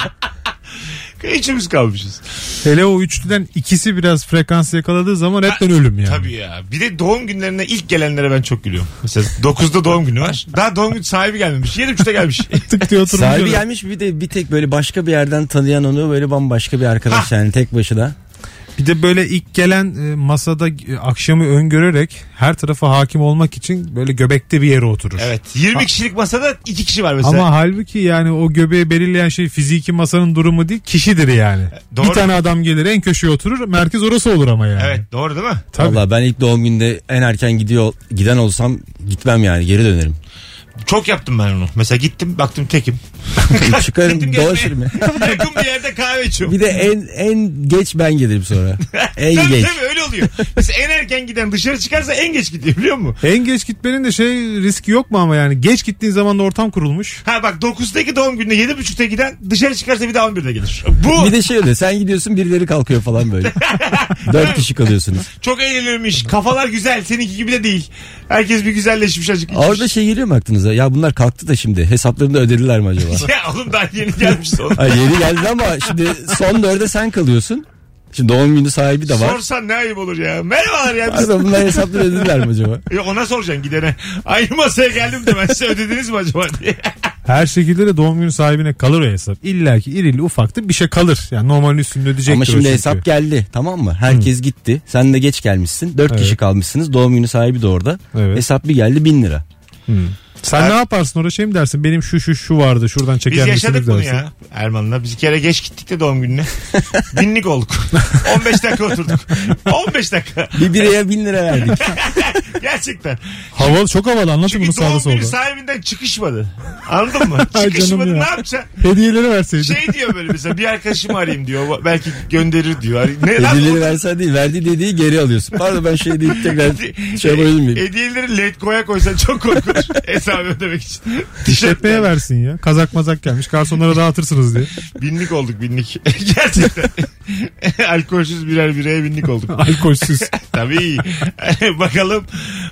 S2: Üçümüz kalmışız.
S4: Hele o üçlüden ikisi biraz frekans yakaladığı zaman hepten ölüm yani.
S2: Tabii ya. Bir de doğum günlerine ilk gelenlere ben çok gülüyorum. Mesela 9'da doğum günü var. Daha doğum günü sahibi gelmemiş. 7.30'da gelmiş.
S4: Tık diye oturmuş.
S3: Sahibi
S4: öyle.
S3: gelmiş bir de bir tek böyle başka bir yerden tanıyan onu böyle bambaşka bir arkadaş yani tek başına.
S4: Bir de böyle ilk gelen e, masada e, akşamı öngörerek her tarafa hakim olmak için böyle göbekte bir yere oturur.
S2: evet. 20 kişilik masada 2 kişi var mesela.
S4: Ama halbuki yani o göbeği belirleyen şey fiziki masanın durumu değil kişidir yani.
S2: E, doğru.
S4: Bir tane adam gelir en köşeye oturur merkez orası olur ama yani.
S2: Evet doğru değil mi?
S4: Tabii.
S3: Valla ben ilk doğum günde en erken gidiyor giden olsam gitmem yani geri dönerim.
S2: Çok yaptım ben onu. Mesela gittim baktım tekim. Gittim
S3: Çıkarım
S2: gezmeye.
S3: dolaşırım. ya.
S2: Yakın bir yerde kahve içiyorum.
S3: Bir de en en geç ben gelirim sonra. En
S2: Tabii
S3: geç.
S2: tabii öyle oluyor. Mesela en erken giden dışarı çıkarsa en geç gidiyor biliyor musun?
S4: En geç gitmenin de şey riski yok mu ama yani geç gittiğin zaman da ortam kurulmuş.
S2: Ha bak 9'daki doğum gününe 7.30'da giden dışarı çıkarsa bir daha 11'de gelir. Bu
S3: Bir de şey oluyor sen gidiyorsun birileri kalkıyor falan böyle. Dört kişi kalıyorsunuz.
S2: çok eğlenilmiş. Kafalar güzel. Seninki gibi de değil. Herkes bir güzelleşmiş acık.
S3: Orada şey geliyor mu aklınıza? Ya bunlar kalktı da şimdi hesaplarını da ödediler mi acaba?
S2: Ya oğlum daha yeni gelmiş son.
S3: Ay yeni geldi ama şimdi son dörde sen kalıyorsun. Şimdi doğum günü sahibi de var.
S2: Sorsan ne ayıp olur ya. Merhabalar ya. Biz...
S3: Aslında bunlar hesapları ödediler mi acaba?
S2: Ya Ona soracaksın gidene. Aynı masaya geldim de ben size ödediniz mi acaba diye.
S4: Her şekilde de doğum günü sahibine kalır o hesap. İlla ki irili ufaktı bir şey kalır. Yani normalin üstünde ödeyecektir
S3: Ama
S4: o
S3: şimdi
S4: çünkü.
S3: hesap geldi tamam mı? Herkes gitti. Sen de geç gelmişsin. Dört
S4: Evet.
S3: kişi kalmışsınız. Doğum günü sahibi de orada.
S4: Evet.
S3: Hesap bir geldi bin lira.
S4: Sen ne yaparsın orada şey mi dersin? Benim şu şu şu vardı şuradan
S2: Biz
S4: çeker misiniz
S2: yaşadık
S4: dersin.
S2: bunu ya Erman'la. Biz bir kere geç gittik de doğum gününe. Binlik olduk. 15 dakika oturduk. 15 dakika.
S3: Bir bireye bin lira verdik.
S2: Gerçekten.
S4: Havalı çok havalı anlatın bunu
S2: Çünkü
S4: sağda
S2: doğum günü
S4: solda.
S2: sahibinden çıkışmadı. Anladın mı?
S4: Ay canım
S2: Çıkışmadı
S4: ya.
S2: ne yapacaksın?
S4: Hediyeleri verseydin.
S2: Şey diyor böyle mesela bir arkadaşımı arayayım diyor. Belki gönderir diyor. Hani Ne lan?
S3: Hediyeleri versen değil. Verdiği dediği geri alıyorsun. Pardon ben şey deyip tekrar şey yapabilir miyim?
S2: Hediyeleri Letgo'ya koysan çok korkunç. Hesabı ödemek için.
S4: İşletmeye versin ya. Kazak mazak gelmiş. Garsonlara dağıtırsınız diye.
S2: Binlik olduk binlik. Gerçekten. Alkolsüz birer bireye binlik olduk.
S4: Alkolsüz.
S2: Tabii. Bakalım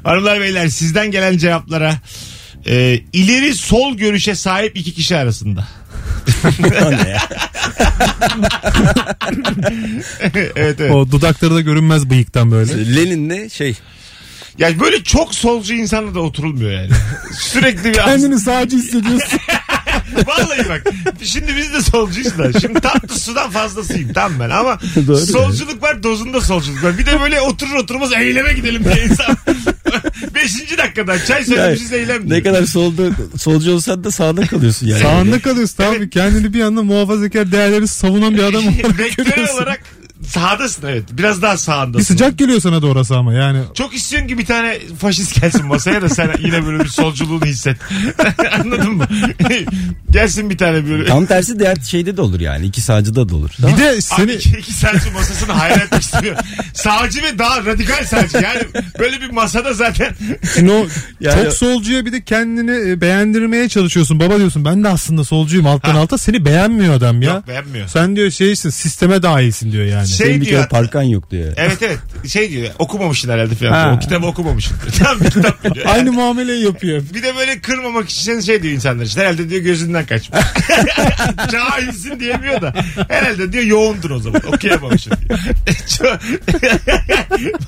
S2: hanımlar beyler sizden gelen cevaplara. Ee, ileri sol görüşe sahip iki kişi arasında. evet evet.
S4: O dudakları da görünmez bıyıktan böyle.
S3: Lenin'le şey.
S2: Yani böyle çok solcu insanla da oturulmuyor yani. Sürekli bir
S4: Kendini sadece hissediyorsun.
S2: Vallahi bak. Şimdi biz de solcuyuz da. Şimdi tatlı sudan fazlasıyım tam ben ama solculuk var dozunda solculuk var. Bir de böyle oturur oturmaz eyleme gidelim diye insan. Beşinci dakikada çay söylemişiz eylem
S3: Ne
S2: diyor.
S3: kadar solda, solcu olsan da sağda kalıyorsun
S2: Şey-
S3: yani.
S2: Şey-
S4: Sağında kalıyorsun abi. Kendini bir anda muhafazakar değerleri savunan bir adam olarak
S2: Vektör
S4: görüyorsun.
S2: olarak Sağdasın evet. Biraz daha sağındasın.
S4: Bir sıcak geliyor sana da orası ama yani.
S2: Çok istiyorsun ki bir tane faşist gelsin masaya da sen yine böyle bir solculuğunu hisset. Anladın mı? gelsin bir tane böyle.
S3: Tam tersi diğer şeyde de olur yani. iki sağcıda da olur.
S4: Bir de
S2: Abi
S4: seni
S2: iki, iki sağcı masasını hayret istiyor. Sağcı ve daha radikal sağcı. Yani böyle bir masada zaten
S4: Şimdi o
S3: Yani-
S4: çok solcuya bir de kendini e, beğendirmeye çalışıyorsun. Baba diyorsun ben de aslında solcuyum alttan alta seni beğenmiyor adam ya.
S2: Yok, beğenmiyor.
S4: Sen diyor şeysin sisteme dahilsin diyor yani.
S2: Şey-
S3: Senin bir
S2: diyor
S3: kere
S2: hatta.
S3: parkan yok diyor.
S2: Evet evet şey diyor okumamışsın herhalde falan.
S4: Ha.
S2: O kitabı okumamışsın. Tam bir kitap diyor.
S4: Aynı muameleyi yapıyor.
S2: Bir de böyle kırmamak için şey diyor insanlar işte herhalde diyor gözünden kaçmış. Cahilsin diyemiyor da herhalde diyor yoğundur o zaman okuyamamışım diyor. Çok-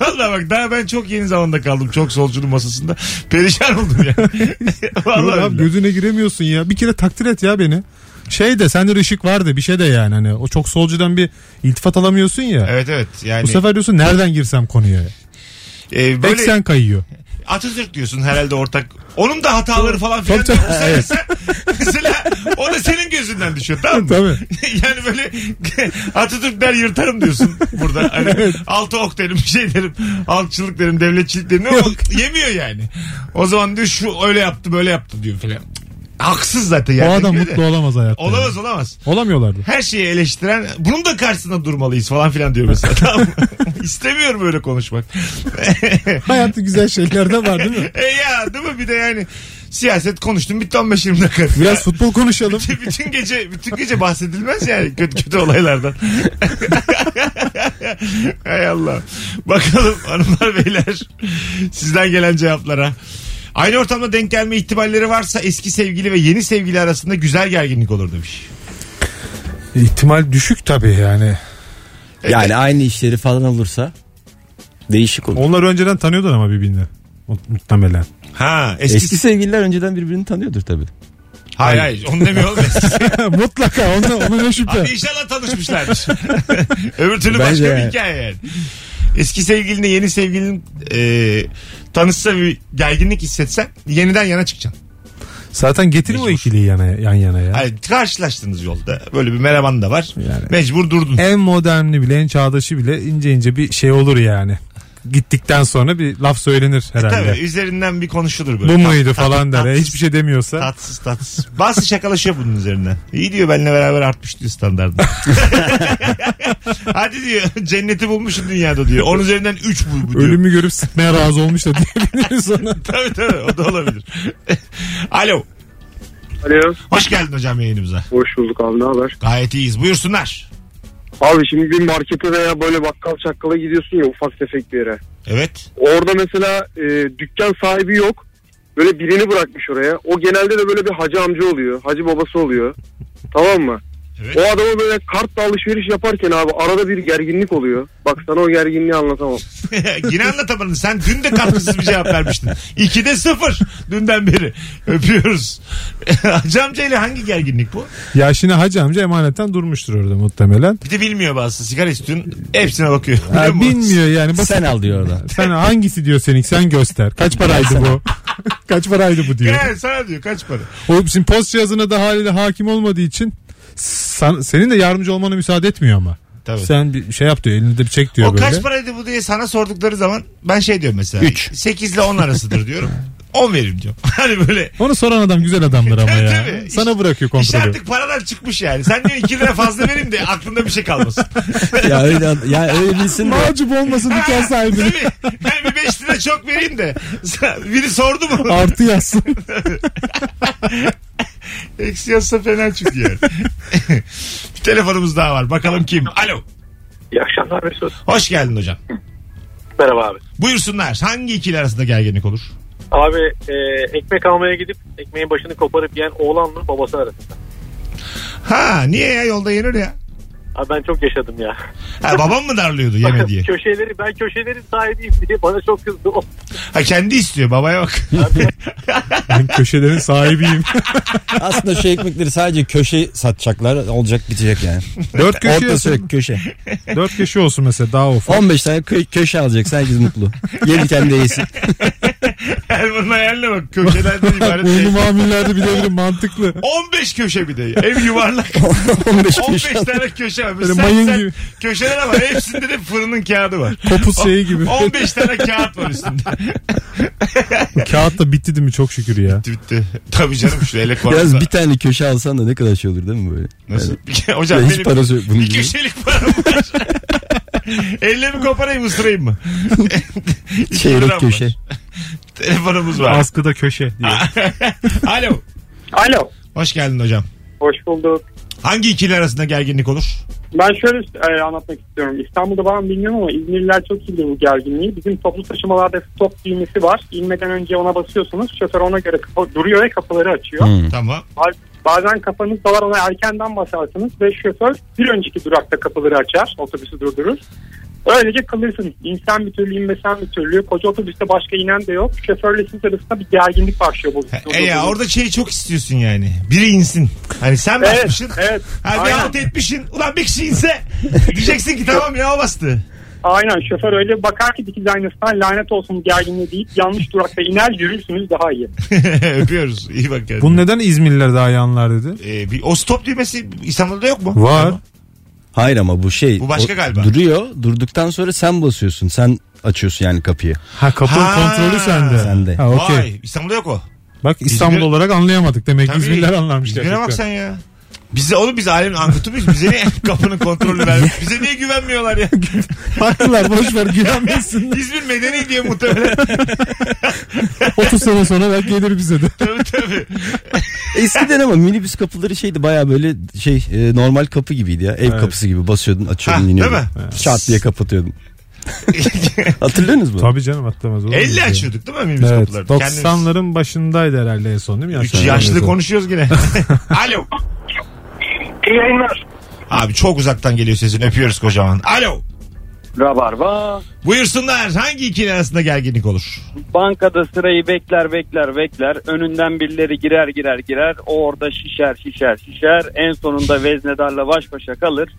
S2: Vallahi bak daha ben çok yeni zamanda kaldım çok solcunun masasında perişan oldum ya.
S4: Yok
S2: Vallahi
S4: abi
S2: billahi.
S4: gözüne giremiyorsun ya. Bir kere takdir et ya beni. Şey de sende de ışık vardı bir şey de yani hani o çok solcudan bir iltifat alamıyorsun ya.
S2: Evet evet yani
S4: Bu sefer diyorsun nereden girsem konuya.
S2: e,
S4: Böyle...
S2: böyle
S4: Eksen kayıyor.
S2: Atatürk diyorsun herhalde ortak. Onun da hataları falan filan.
S4: Tabii,
S2: da
S4: tabii.
S2: olsa mesela, mesela o da senin gözünden düşüyor tamam mı?
S4: Tabii.
S2: yani böyle Atatürk der yırtarım diyorsun burada. Hani Altı ok derim bir şey derim. Halkçılık derim devletçilik derim ama yemiyor yani. O zaman diyor şu öyle yaptı böyle yaptı diyor filan. Haksız zaten yani.
S4: o adam mutlu olamaz hayatta.
S2: Olamaz olamaz.
S4: Olamıyorlardı.
S2: Her şeyi eleştiren bunun da karşısında durmalıyız falan filan diyor mesela. tamam mı? İstemiyorum öyle konuşmak.
S4: Hayatta güzel şeyler de var değil mi?
S2: E ya değil mi bir de yani siyaset konuştum bitti 15-20 dakika.
S4: Biraz futbol konuşalım.
S2: Ya, bütün gece bütün gece bahsedilmez yani kötü kötü olaylardan. Hay Allah. Bakalım hanımlar beyler sizden gelen cevaplara. Aynı ortamda denk gelme ihtimalleri varsa eski sevgili ve yeni sevgili arasında güzel gerginlik olur demiş.
S4: İhtimal düşük tabii yani.
S3: Yani aynı işleri falan olursa değişik olur.
S4: Onlar önceden tanıyorlar ama birbirini. O- Muhtemelen.
S2: Ha eski,
S3: Eski sevgililer önceden birbirini tanıyordur tabii.
S2: hayır hayır onu demiyor oğlum. Eski-
S4: Mutlaka ona, ona ne şüphe.
S2: Abi inşallah tanışmışlardır. Öbür türlü
S3: Bence
S2: başka bir
S3: yani.
S2: hikaye yani. Eski sevgilinle yeni sevgilin e, tanışsa bir gerginlik hissetsen yeniden yana çıkacaksın.
S4: Zaten getirin o
S2: Mecbur.
S4: ikiliyi yana, yan yana ya.
S2: Hayır, karşılaştınız yolda. Böyle bir merhaban da var.
S4: Yani.
S2: Mecbur durdun.
S4: En moderni bile en çağdaşı bile ince ince bir şey olur yani. Gittikten sonra bir laf söylenir herhalde.
S2: E, Tabii üzerinden bir konuşulur böyle.
S4: Bu
S2: Tat-
S4: muydu
S2: tat-
S4: falan der.
S2: tatsız-
S4: Hiçbir şey demiyorsa.
S2: Tatsız tatsız. Bazı şakalaşıyor bunun üzerinden. İyi diyor benimle beraber artmış diyor standartı. Hadi diyor cenneti bulmuşsun dünyada diyor. Onun üzerinden 3 bu, bu diyor.
S4: Ölümü görüp sıkmaya razı olmuş da diyebiliriz ona.
S2: tabii tabii o da olabilir. Alo.
S8: Alo.
S2: Hoş geldin hocam yayınımıza.
S8: Hoş bulduk abi ne haber?
S2: Gayet iyiyiz. Buyursunlar.
S8: Abi şimdi bir markete veya böyle bakkal çakkala gidiyorsun ya ufak tefek bir yere.
S2: Evet.
S8: Orada mesela e, dükkan sahibi yok. Böyle birini bırakmış oraya. O genelde de böyle bir hacı amca oluyor. Hacı babası oluyor. Tamam mı?
S2: Evet.
S8: O adama böyle kartla alışveriş yaparken abi arada bir gerginlik oluyor. Bak sana o gerginliği anlatamam.
S2: Yine anlatamadın. Sen dün de katkısız bir cevap vermiştin. İkide sıfır dünden beri. Öpüyoruz. Hacı amcayla hangi gerginlik bu?
S4: ya şimdi hacı amca emanetten durmuştur orada muhtemelen.
S2: Bir de bilmiyor bazı sigara istiyorsun. Hepsine bakıyor.
S4: Ha,
S2: Biliyor musun?
S4: bilmiyor yani. Bak,
S3: Sen al diyor orada.
S4: sen hangisi diyor senin sen göster. Kaç paraydı bu? Kaç paraydı bu diyor.
S2: Yani sana diyor kaç para.
S4: O şimdi post cihazına da haliyle hakim olmadığı için san- senin de yardımcı olmana müsaade etmiyor ama.
S2: Tabii.
S4: Sen bir şey yap diyor elinde bir çek diyor
S2: o
S4: böyle.
S2: kaç paraydı bu diye sana sordukları zaman ben şey diyorum mesela. 3. 8 ile 10 arasıdır diyorum. 10 veririm diyorum. Hani böyle
S4: Onu soran adam güzel adamdır ama
S2: Tabii,
S4: ya.
S2: tabii.
S4: Sana
S2: İş-
S4: bırakıyor
S2: İş
S4: kontrolü.
S2: artık paradan çıkmış yani. Sen diyor 2 lira fazla vereyim de aklında bir şey kalmasın.
S3: ya öyle ya öyle bilsin de.
S4: Macip olmasın dükkan sahibini.
S2: Tabii. Yani bir 5 lira çok vereyim de. Biri sordu mu?
S4: Artı yazsın.
S2: Eksi yazsa fena çünkü yani. bir telefonumuz daha var. Bakalım kim? Alo.
S10: İyi akşamlar Mesut.
S2: Hoş geldin hocam.
S10: Merhaba abi.
S2: Buyursunlar. Hangi ikili arasında gerginlik olur?
S10: Abi e, ekmek almaya gidip ekmeğin başını koparıp yiyen oğlanla babası arasında.
S2: Ha niye ya yolda yenir ya?
S10: Abi ben çok yaşadım ya.
S2: Ha, babam mı darlıyordu yeme diye?
S10: Köşeleri ben köşelerin sahibiyim diye bana çok kızdı. O
S2: Ha kendi istiyor babaya bak.
S4: Ben köşelerin sahibiyim.
S3: Aslında şu ekmekleri sadece köşe satacaklar. Olacak bitecek yani.
S4: Dört köşe
S3: Orta
S4: olsun.
S3: sürek köşe.
S4: Dört köşe olsun mesela daha ufak.
S3: 15 tane kö- köşe alacak. Herkes mutlu. Yerken de yesin.
S2: Erman'ın hayaline bak. Köşeden de ibaret.
S4: Ünlü mamillerde bilebilirim mantıklı.
S2: 15 köşe bir de. Ev yuvarlak.
S3: 15
S2: 15
S3: köşe.
S2: tane köşe var.
S4: Böyle
S2: Böyle sen,
S4: mayın
S2: sen
S4: gibi.
S2: köşeler ama hepsinde de fırının kağıdı var.
S4: Topuz şeyi gibi.
S2: 15 tane kağıt var üstünde.
S4: Kağıt da bitti değil mi çok şükür ya.
S2: Bitti bitti. Tabii canım şu
S3: Biraz
S2: elektronikta.
S3: bir tane köşe alsan da ne kadar şey olur değil mi böyle?
S2: Nasıl?
S3: Yani
S2: Hocam
S3: hiç
S2: benim
S3: parası yok bunun
S2: bir
S3: gibi.
S2: köşelik param var. Ellerimi koparayım ısırayım mı? İki liram
S3: Çeyrek
S2: var.
S3: köşe.
S2: Telefonumuz var.
S4: Askıda köşe diye.
S2: Alo.
S10: Alo.
S2: Hoş geldin hocam.
S10: Hoş bulduk.
S2: Hangi ikili arasında gerginlik olur?
S10: Ben şöyle e, anlatmak istiyorum. İstanbul'da var mı bilmiyorum ama İzmirliler çok iyi bilir bu gerginliği. Bizim toplu taşımalarda stop düğmesi var. İnmeden önce ona basıyorsunuz. Şoför ona göre kapa- duruyor ve kapıları açıyor.
S3: Hmm.
S2: Tamam.
S10: Bazen kafanız dalar ona erkenden basarsınız ve şoför bir önceki durakta kapıları açar. Otobüsü durdurur. Öylece kalırsınız. İnsan bir türlü inmesen bir türlü. Koca otobüste başka inen de yok. Şoförle siz arasında bir gerginlik başlıyor. Bu,
S2: E ya orada şeyi çok istiyorsun yani. Biri insin. Hani sen basmışsın.
S10: evet.
S2: Hani
S10: Aynen.
S2: alt etmişsin. Ulan bir kişi inse diyeceksin ki tamam ya o bastı.
S10: Aynen şoför öyle bakar ki dikiz aynasından lanet olsun gerginliğe deyip yanlış durakta iner yürürsünüz daha iyi.
S2: Öpüyoruz. İyi bak kendine.
S4: Bunu neden İzmirliler daha yanlar dedi?
S2: Ee, bir, o stop düğmesi İstanbul'da yok mu?
S4: Var.
S3: Hayır ama bu şey.
S2: Bu başka
S3: o-
S2: galiba.
S3: Duruyor. Durduktan sonra sen basıyorsun. Sen açıyorsun yani kapıyı.
S4: Ha kapının
S2: Ha.
S4: kontrolü sende.
S3: Sende.
S4: Ha okey.
S2: Vay İstanbul'da yok o.
S4: Bak İstanbul
S2: İzmir-
S4: olarak anlayamadık demek ki İzmirliler anlamış
S2: İzmir'e bak sen
S4: gerçekten.
S2: ya. Bize oğlum biz alemin ankutu muyuz? Bize niye kapının kontrolü vermiyor? Bize niye güvenmiyorlar ya?
S4: Haklılar boş ver güvenmesinler.
S2: İzmir medeni diye muhtemelen.
S4: 30 sene sonra belki gelir bize de.
S2: tabii tabii.
S3: Eskiden ama minibüs kapıları şeydi baya böyle şey e, normal kapı gibiydi ya. Ev kapısı gibi basıyordun açıyordun
S2: Ha,
S3: iniyordun.
S2: değil mi?
S3: Şart diye kapatıyordun. Hatırlıyorsunuz mu?
S4: Tabii canım atlamaz olur. mu?
S2: 50 açıyorduk değil mi minibüs
S4: Evet.
S2: kapıları? Kendimiz-
S4: 90'ların başındaydı herhalde en son değil mi?
S2: Üç yaşlı konuşuyoruz yine. Alo.
S5: İyi yayınlar.
S2: Abi çok uzaktan geliyor sesin. Öpüyoruz kocaman. Alo.
S7: Rabarba.
S2: Buyursunlar. Hangi ikili arasında gerginlik olur?
S7: Bankada sırayı bekler bekler bekler. Önünden birileri girer girer girer. O orada şişer şişer şişer. En sonunda veznedarla baş başa kalır.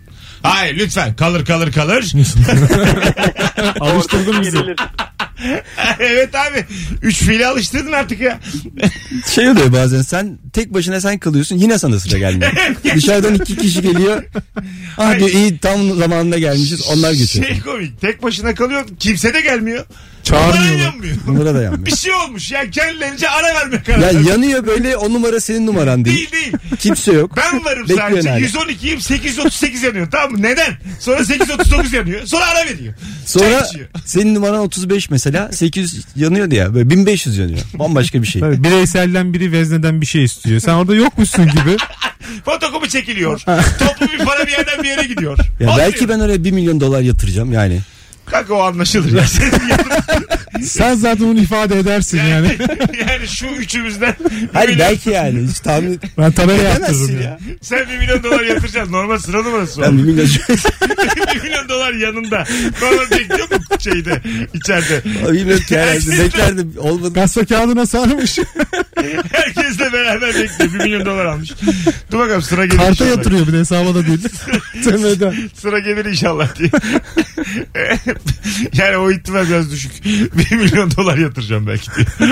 S2: Hayır lütfen. Kalır kalır kalır.
S4: Alıştırdın bizi.
S7: Gerilir.
S2: evet abi. Üç fiili alıştırdın artık ya.
S3: Şey oluyor bazen sen tek başına sen kalıyorsun yine sana sıra gelmiyor. Dışarıdan iki kişi geliyor. Ah diyor iyi tam zamanında gelmişiz onlar geçiyor.
S2: Şey komik. Tek başına kalıyor. Kimse de gelmiyor. Bana
S4: Çağırmıyorlar.
S2: yanmıyor.
S3: Bunlara da yanmıyor.
S2: Bir şey olmuş ya. Kendilerince ara verme kararı.
S3: Ya yanıyor böyle o numara senin numaran değil.
S2: Değil değil.
S3: Kimse yok.
S2: Ben varım
S3: Bekliyorsun
S2: sadece.
S3: hala.
S2: 112'yim 838 yanıyor. Tamam mı? Neden? Sonra 839 yanıyor. Sonra ara veriyor. Çay
S3: Sonra
S2: içiyor.
S3: senin numaran 35 mesela 800 yanıyordu ya böyle 1500 yanıyor. Bambaşka bir şey.
S4: Tabii, bireyselden biri vezneden bir şey istiyor. Sen orada yokmuşsun gibi.
S2: Fotokopi çekiliyor. Toplu bir para bir yerden bir yere gidiyor.
S3: Ya belki
S2: Atlıyor.
S3: ben oraya 1 milyon dolar yatıracağım yani.
S2: Kanka o anlaşılır. Ya. Senin yatırım-
S4: Sen zaten onu ifade edersin yani.
S2: yani, yani şu üçümüzden bir
S3: Hayır
S2: milyon-
S3: belki yani hiç tahmin
S4: Ben tabela
S3: edemezsin
S4: yaptırdım ya.
S3: ya.
S2: Sen bir milyon dolar yatıracaksın. Normal sıra numarası o.
S3: Ben 1 milyon
S2: bir milyon dolar yanında. Normal bekliyor mu şeyde içeride?
S3: bilmiyorum ki herhalde beklerdim olmadı.
S4: Kasa kağıdına sarmış.
S2: Herkesle beraber bekliyor. Bir milyon dolar almış. Dur bakalım sıra gelir
S4: Karta
S2: inşallah.
S4: yatırıyor bir de hesaba da değil. Temeden.
S2: Sıra gelir inşallah diye. yani o ihtimal biraz düşük. Bir milyon dolar yatıracağım belki diye.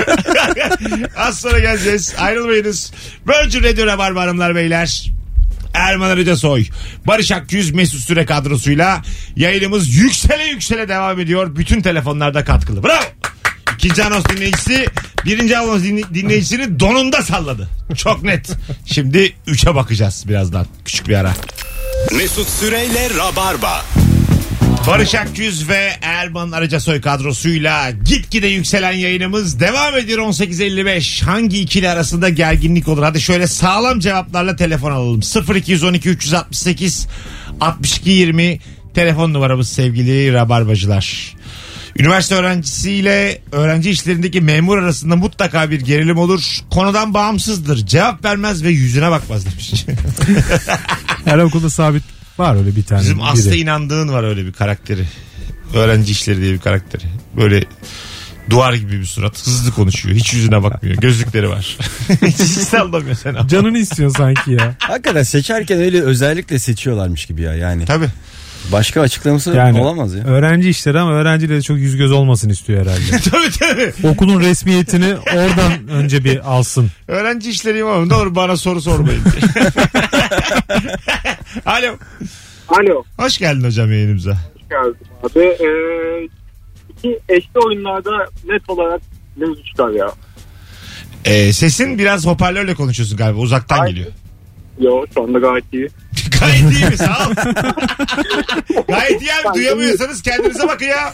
S2: Az sonra geleceğiz. Ayrılmayınız. Virgin Radio Rabarba Hanımlar Beyler. Erman Arıca Soy, Barış Akyüz, Mesut Süre kadrosuyla yayınımız yüksele yüksele devam ediyor. Bütün telefonlarda katkılı. Bravo. İkinci anons dinleyicisi birinci anons dinle- dinleyicisini donunda salladı. Çok net. Şimdi üçe bakacağız birazdan. Küçük bir ara.
S1: Mesut Süreyle Rabarba.
S2: Barış Akgüz ve Erman Arıcasoy kadrosuyla gitgide yükselen yayınımız devam ediyor 18.55. Hangi ikili arasında gerginlik olur? Hadi şöyle sağlam cevaplarla telefon alalım. 0212 368 62 20 telefon numaramız sevgili Rabarbacılar. Üniversite öğrencisiyle öğrenci işlerindeki memur arasında mutlaka bir gerilim olur. Konudan bağımsızdır. Cevap vermez ve yüzüne bakmaz demiş.
S4: Her okulda sabit var öyle Hani bir tane.
S2: Bizim
S4: biri.
S2: Aslı inandığın var öyle bir karakteri. Öğrenci işleri diye bir karakteri. Böyle duvar gibi bir surat. Hızlı konuşuyor. Hiç yüzüne bakmıyor. Gözlükleri var. hiç, hiç sallamıyor sen ama.
S4: Canını istiyor sanki ya.
S3: Hakikaten seçerken öyle özellikle seçiyorlarmış gibi ya yani.
S2: Tabii.
S3: Başka açıklaması
S4: Yani
S3: olamaz ya.
S4: Öğrenci işleri ama öğrenciyle de çok yüz göz olmasın istiyor herhalde.
S2: tabii tabii.
S4: Okulun resmiyetini oradan önce bir alsın.
S2: Öğrenci işleri ama doğru bana soru sormayın. Alo.
S10: Alo.
S2: Hoş geldin hocam yayınımıza.
S10: geldim abi. Ee, iki eşli oyunlarda net olarak mevzu çıkar ya.
S2: Ee, sesin biraz hoparlörle konuşuyorsun galiba. Uzaktan
S10: Ay.
S2: geliyor.
S10: Yo şu anda gayet iyi.
S2: Gayet iyi mi? Sağ ol. Gayet iyi abi. Duyamıyorsanız kendinize bakın ya.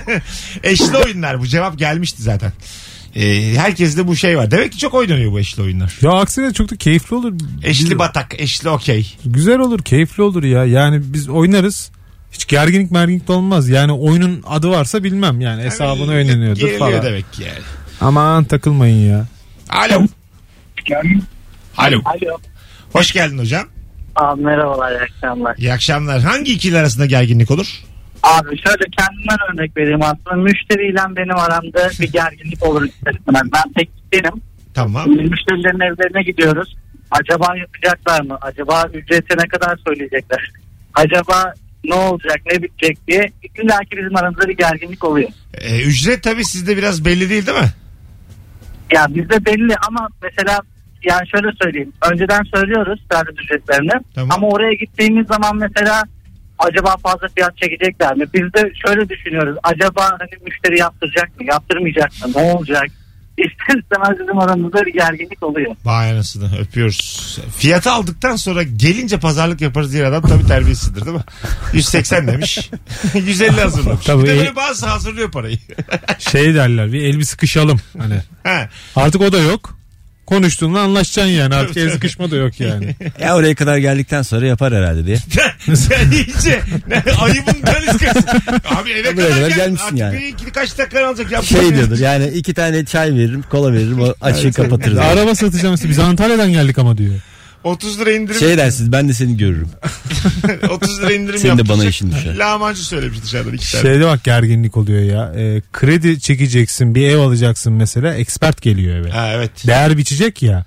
S2: eşli oyunlar. Bu cevap gelmişti zaten. Ee, herkeste bu şey var. Demek ki çok oynanıyor bu eşli oyunlar.
S4: Ya aksine çok da keyifli olur.
S2: Eşli batak, eşli okey.
S4: Güzel olur, keyifli olur ya. Yani biz oynarız. Hiç gerginlik merginlik de olmaz. Yani oyunun adı varsa bilmem yani hesabını oynanıyordur
S2: Geriliyor
S4: falan.
S2: demek ki yani.
S4: Aman takılmayın ya.
S2: Alo. Alo.
S10: Alo.
S2: Hoş geldin hocam.
S10: Abi merhabalar iyi akşamlar.
S2: İyi akşamlar. Hangi ikili arasında gerginlik olur?
S10: Abi şöyle kendimden örnek vereyim aslında. Müşteriyle benim aramda bir gerginlik olur istedim. Ben tek benim.
S2: Tamam.
S10: Müşterilerin evlerine gidiyoruz. Acaba yapacaklar mı? Acaba ücreti ne kadar söyleyecekler? Acaba ne olacak, ne bitecek diye illa ki bizim aramızda bir gerginlik oluyor.
S2: Ee, ücret tabii sizde biraz belli değil değil mi?
S10: Ya bizde belli ama mesela yani şöyle söyleyeyim. Önceden söylüyoruz servis ücretlerini.
S2: Tamam.
S10: Ama oraya gittiğimiz zaman mesela acaba fazla fiyat çekecekler mi? Biz de şöyle düşünüyoruz. Acaba hani müşteri yaptıracak mı? Yaptırmayacak mı? Ne olacak? İster istemez bizim aramızda bir gerginlik oluyor.
S2: Vay anasını öpüyoruz. Fiyatı aldıktan sonra gelince pazarlık yaparız diye adam tabii terbiyesizdir değil mi? 180 demiş. 150 hazırlamış.
S4: Tabii.
S2: Bir de böyle bazısı hazırlıyor parayı.
S4: Şey derler bir el bir sıkışalım hani.
S2: Ha,
S4: Artık o da yok. Konuştuğunla anlaşacaksın yani artık el sıkışma da yok yani.
S3: Ya oraya kadar geldikten sonra yapar herhalde diye.
S2: Sen iyice ne, ayıbın kaniskası. Abi eve
S3: Buraya
S2: kadar
S3: kadar
S2: gel.
S3: gelmişsin
S2: Artık
S3: yani.
S2: bir ikili kaç dakika alacak? Ya,
S3: Şey diyordur yani iki tane çay veririm kola veririm o açığı kapatırız.
S4: Araba satacağım size biz Antalya'dan geldik ama diyor.
S2: 30 lira indirim.
S3: Şey dersiniz ben de seni görürüm.
S2: 30 lira indirim
S3: Senin de bana
S2: yaptıracak.
S3: işin düşer. Şey-
S2: Lahmacun söylemiş dışarıdan iki tane.
S4: Şeyde bak gerginlik oluyor ya. Ee, kredi çekeceksin bir ev alacaksın mesela expert geliyor eve.
S2: Ha, evet.
S4: Değer biçecek ya.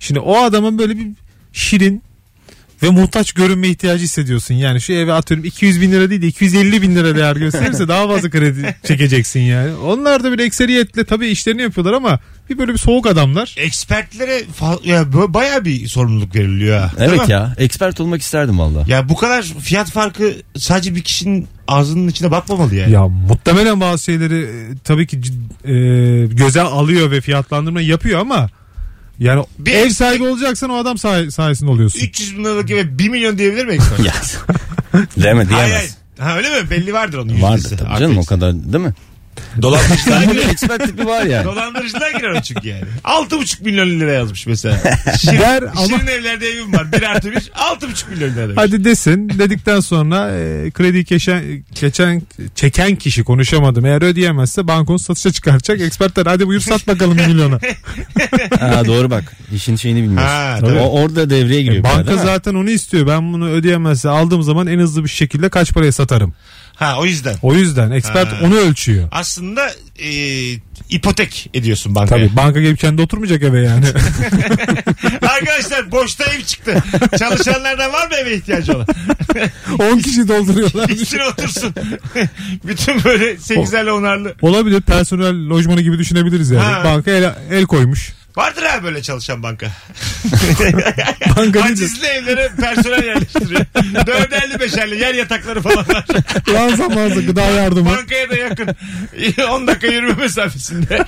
S4: Şimdi o adamın böyle bir şirin ve muhtaç görünme ihtiyacı hissediyorsun. Yani şu eve atıyorum 200 bin lira değil de 250 bin lira değer gösterirse daha fazla kredi çekeceksin yani. Onlar da bir ekseriyetle tabii işlerini yapıyorlar ama bir böyle bir soğuk adamlar.
S2: Ekspertlere fa- ya, bu- bayağı bir sorumluluk veriliyor ha. Değil
S3: Evet
S2: mi?
S3: ya expert olmak isterdim valla.
S2: Ya bu kadar fiyat farkı sadece bir kişinin ağzının içine bakmamalı yani.
S4: Ya muhtemelen bazı şeyleri e, tabii ki cid- e, göze alıyor ve fiyatlandırma yapıyor ama yani
S2: Bir-
S4: ev sahibi olacaksan o adam say- sayesinde oluyorsun.
S2: 300 bin liralık eve 1 milyon diyebilir mi ekstra?
S3: Ya. Deme
S2: Hayır, hayır.
S3: diyemez.
S2: Ha öyle mi? Belli vardır onun
S3: Vardı
S2: yüzdesi.
S3: tabii canım o kadar değil mi?
S2: Dolandırıcılığa girer.
S3: expert tipi var yani.
S2: Dolandırıcılığa girer o çünkü yani. 6,5 milyon lira yazmış mesela. Şirin,
S4: Der ama-
S2: şirin evlerde evim var. 1 artı 1. 6,5 milyon lira demiş.
S4: Hadi desin dedikten sonra e, kredi geçen, geçen çeken kişi konuşamadım. Eğer ödeyemezse bankon satışa çıkartacak. Ekspertler hadi buyur sat bakalım bir milyona.
S3: Ha, doğru bak işin şeyini bilmiyorsun.
S2: Ha,
S3: o,
S2: tabii.
S3: orada devreye giriyor. biraz,
S4: Banka
S3: değil mi?
S4: zaten onu istiyor. Ben bunu ödeyemezse aldığım zaman en hızlı bir şekilde kaç paraya satarım.
S2: Ha o yüzden.
S4: O yüzden ekspert
S2: Ha.
S4: onu ölçüyor.
S2: Aslında e, ipotek ediyorsun bankaya.
S4: Tabii banka gelip kendi oturmayacak eve yani.
S2: Arkadaşlar boşta ev çıktı. Çalışanlardan var mı eve ihtiyacı olan?
S4: 10 kişi dolduruyorlar.
S2: Gitsin otursun. Bütün böyle sekizerli onarlı.
S4: Olabilir personel lojmanı gibi düşünebiliriz yani.
S2: Ha.
S4: Banka el, el koymuş.
S2: Vardır ha böyle çalışan banka.
S4: Banka değil
S2: Acizli evlere personel yerleştiriyor. Dörderli beşerli yer yatakları falan var.
S4: de lanza manza gıda yardımı.
S2: Bankaya da yakın. 10 dakika yürüme mesafesinde.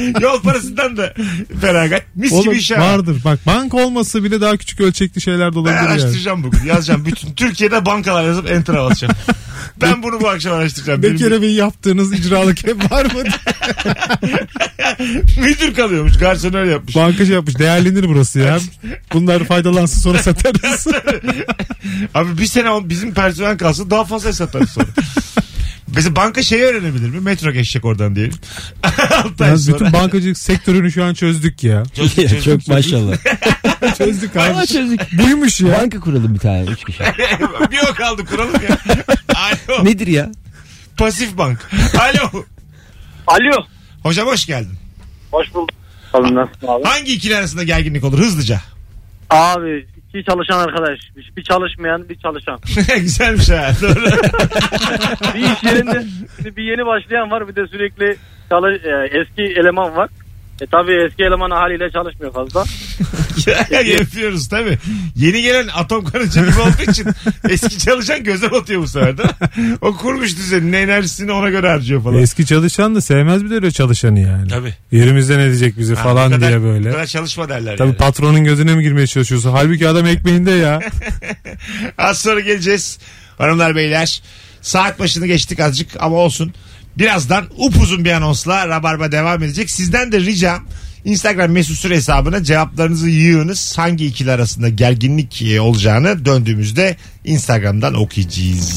S2: Yol parasından da feragat. Mis gibi şey.
S4: Oğlum,
S2: iş ha.
S4: vardır. Bak banka olması bile daha küçük ölçekli şeyler de
S2: Ben
S4: olabilir yani.
S2: araştıracağım bugün. Yazacağım. Bütün Türkiye'de bankalar yazıp enter'a basacağım. Ben bunu bu akşam araştıracağım. Benim
S4: Bekir Bey yaptığınız icralık hep var mı?
S2: müdür kalıyormuş. Garsonör yapmış.
S4: Banka şey yapmış değerlenir burası ya. Bunlar faydalansın sonra satarız.
S2: Abi bir sene on- bizim personel kalsın daha fazla satarız sonra. Mesela banka şeyi öğrenebilir mi? Metro geçecek oradan diyelim. Altı ay
S4: Ya
S2: sonra.
S4: bütün bankacılık sektörünü şu an çözdük ya.
S2: Çözdük, çözdük,
S3: Çok
S2: çözdük.
S3: maşallah.
S4: Çözdük abi.
S3: çözdük.
S4: Buymuş ya.
S3: Banka kuralım bir tane üç kişi.
S2: Şey, bir o kaldı kuralım ya. Alo.
S3: Nedir ya?
S2: Pasif bank. Alo.
S5: Alo.
S2: Hocam hoş geldin.
S10: Hoş bulduk. Alın nasılsın abi?
S2: Hangi ikili arasında gerginlik olur hızlıca?
S10: Abi
S7: Bir çalışan arkadaş. Bir bir çalışmayan bir çalışan.
S2: Güzelmiş ha. Doğru.
S7: bir iş yerinde şimdi bir yeni başlayan var bir de sürekli çalış, e, eski eleman var. E tabii eski eleman haliyle çalışmıyor fazla.
S2: Yapıyoruz tabii. Yeni gelen atom karınca gibi olduğu için eski çalışan gözler atıyor bu sefer değil mi? O kurmuş düzenini enerjisini ona göre harcıyor falan.
S4: Eski çalışan da sevmez bir de öyle çalışanı yani.
S2: Tabii.
S4: Yerimizden edecek bizi
S2: Ha,
S4: falan
S2: bu kadar-
S4: diye
S2: Bu
S4: böyle.
S2: kadar çalışma derler
S4: Tabii
S2: yani.
S4: patronun gözüne mi girmeye çalışıyorsun? Halbuki adam ekmeğinde ya.
S2: Az sonra geleceğiz. Hanımlar beyler saat başını geçtik azıcık ama olsun. Birazdan upuzun bir anonsla Rabarba devam edecek. Sizden de ricam Instagram mesut süre hesabına cevaplarınızı yığınız. Hangi ikili arasında gerginlik olacağını döndüğümüzde e, Instagram'dan okuyacağız.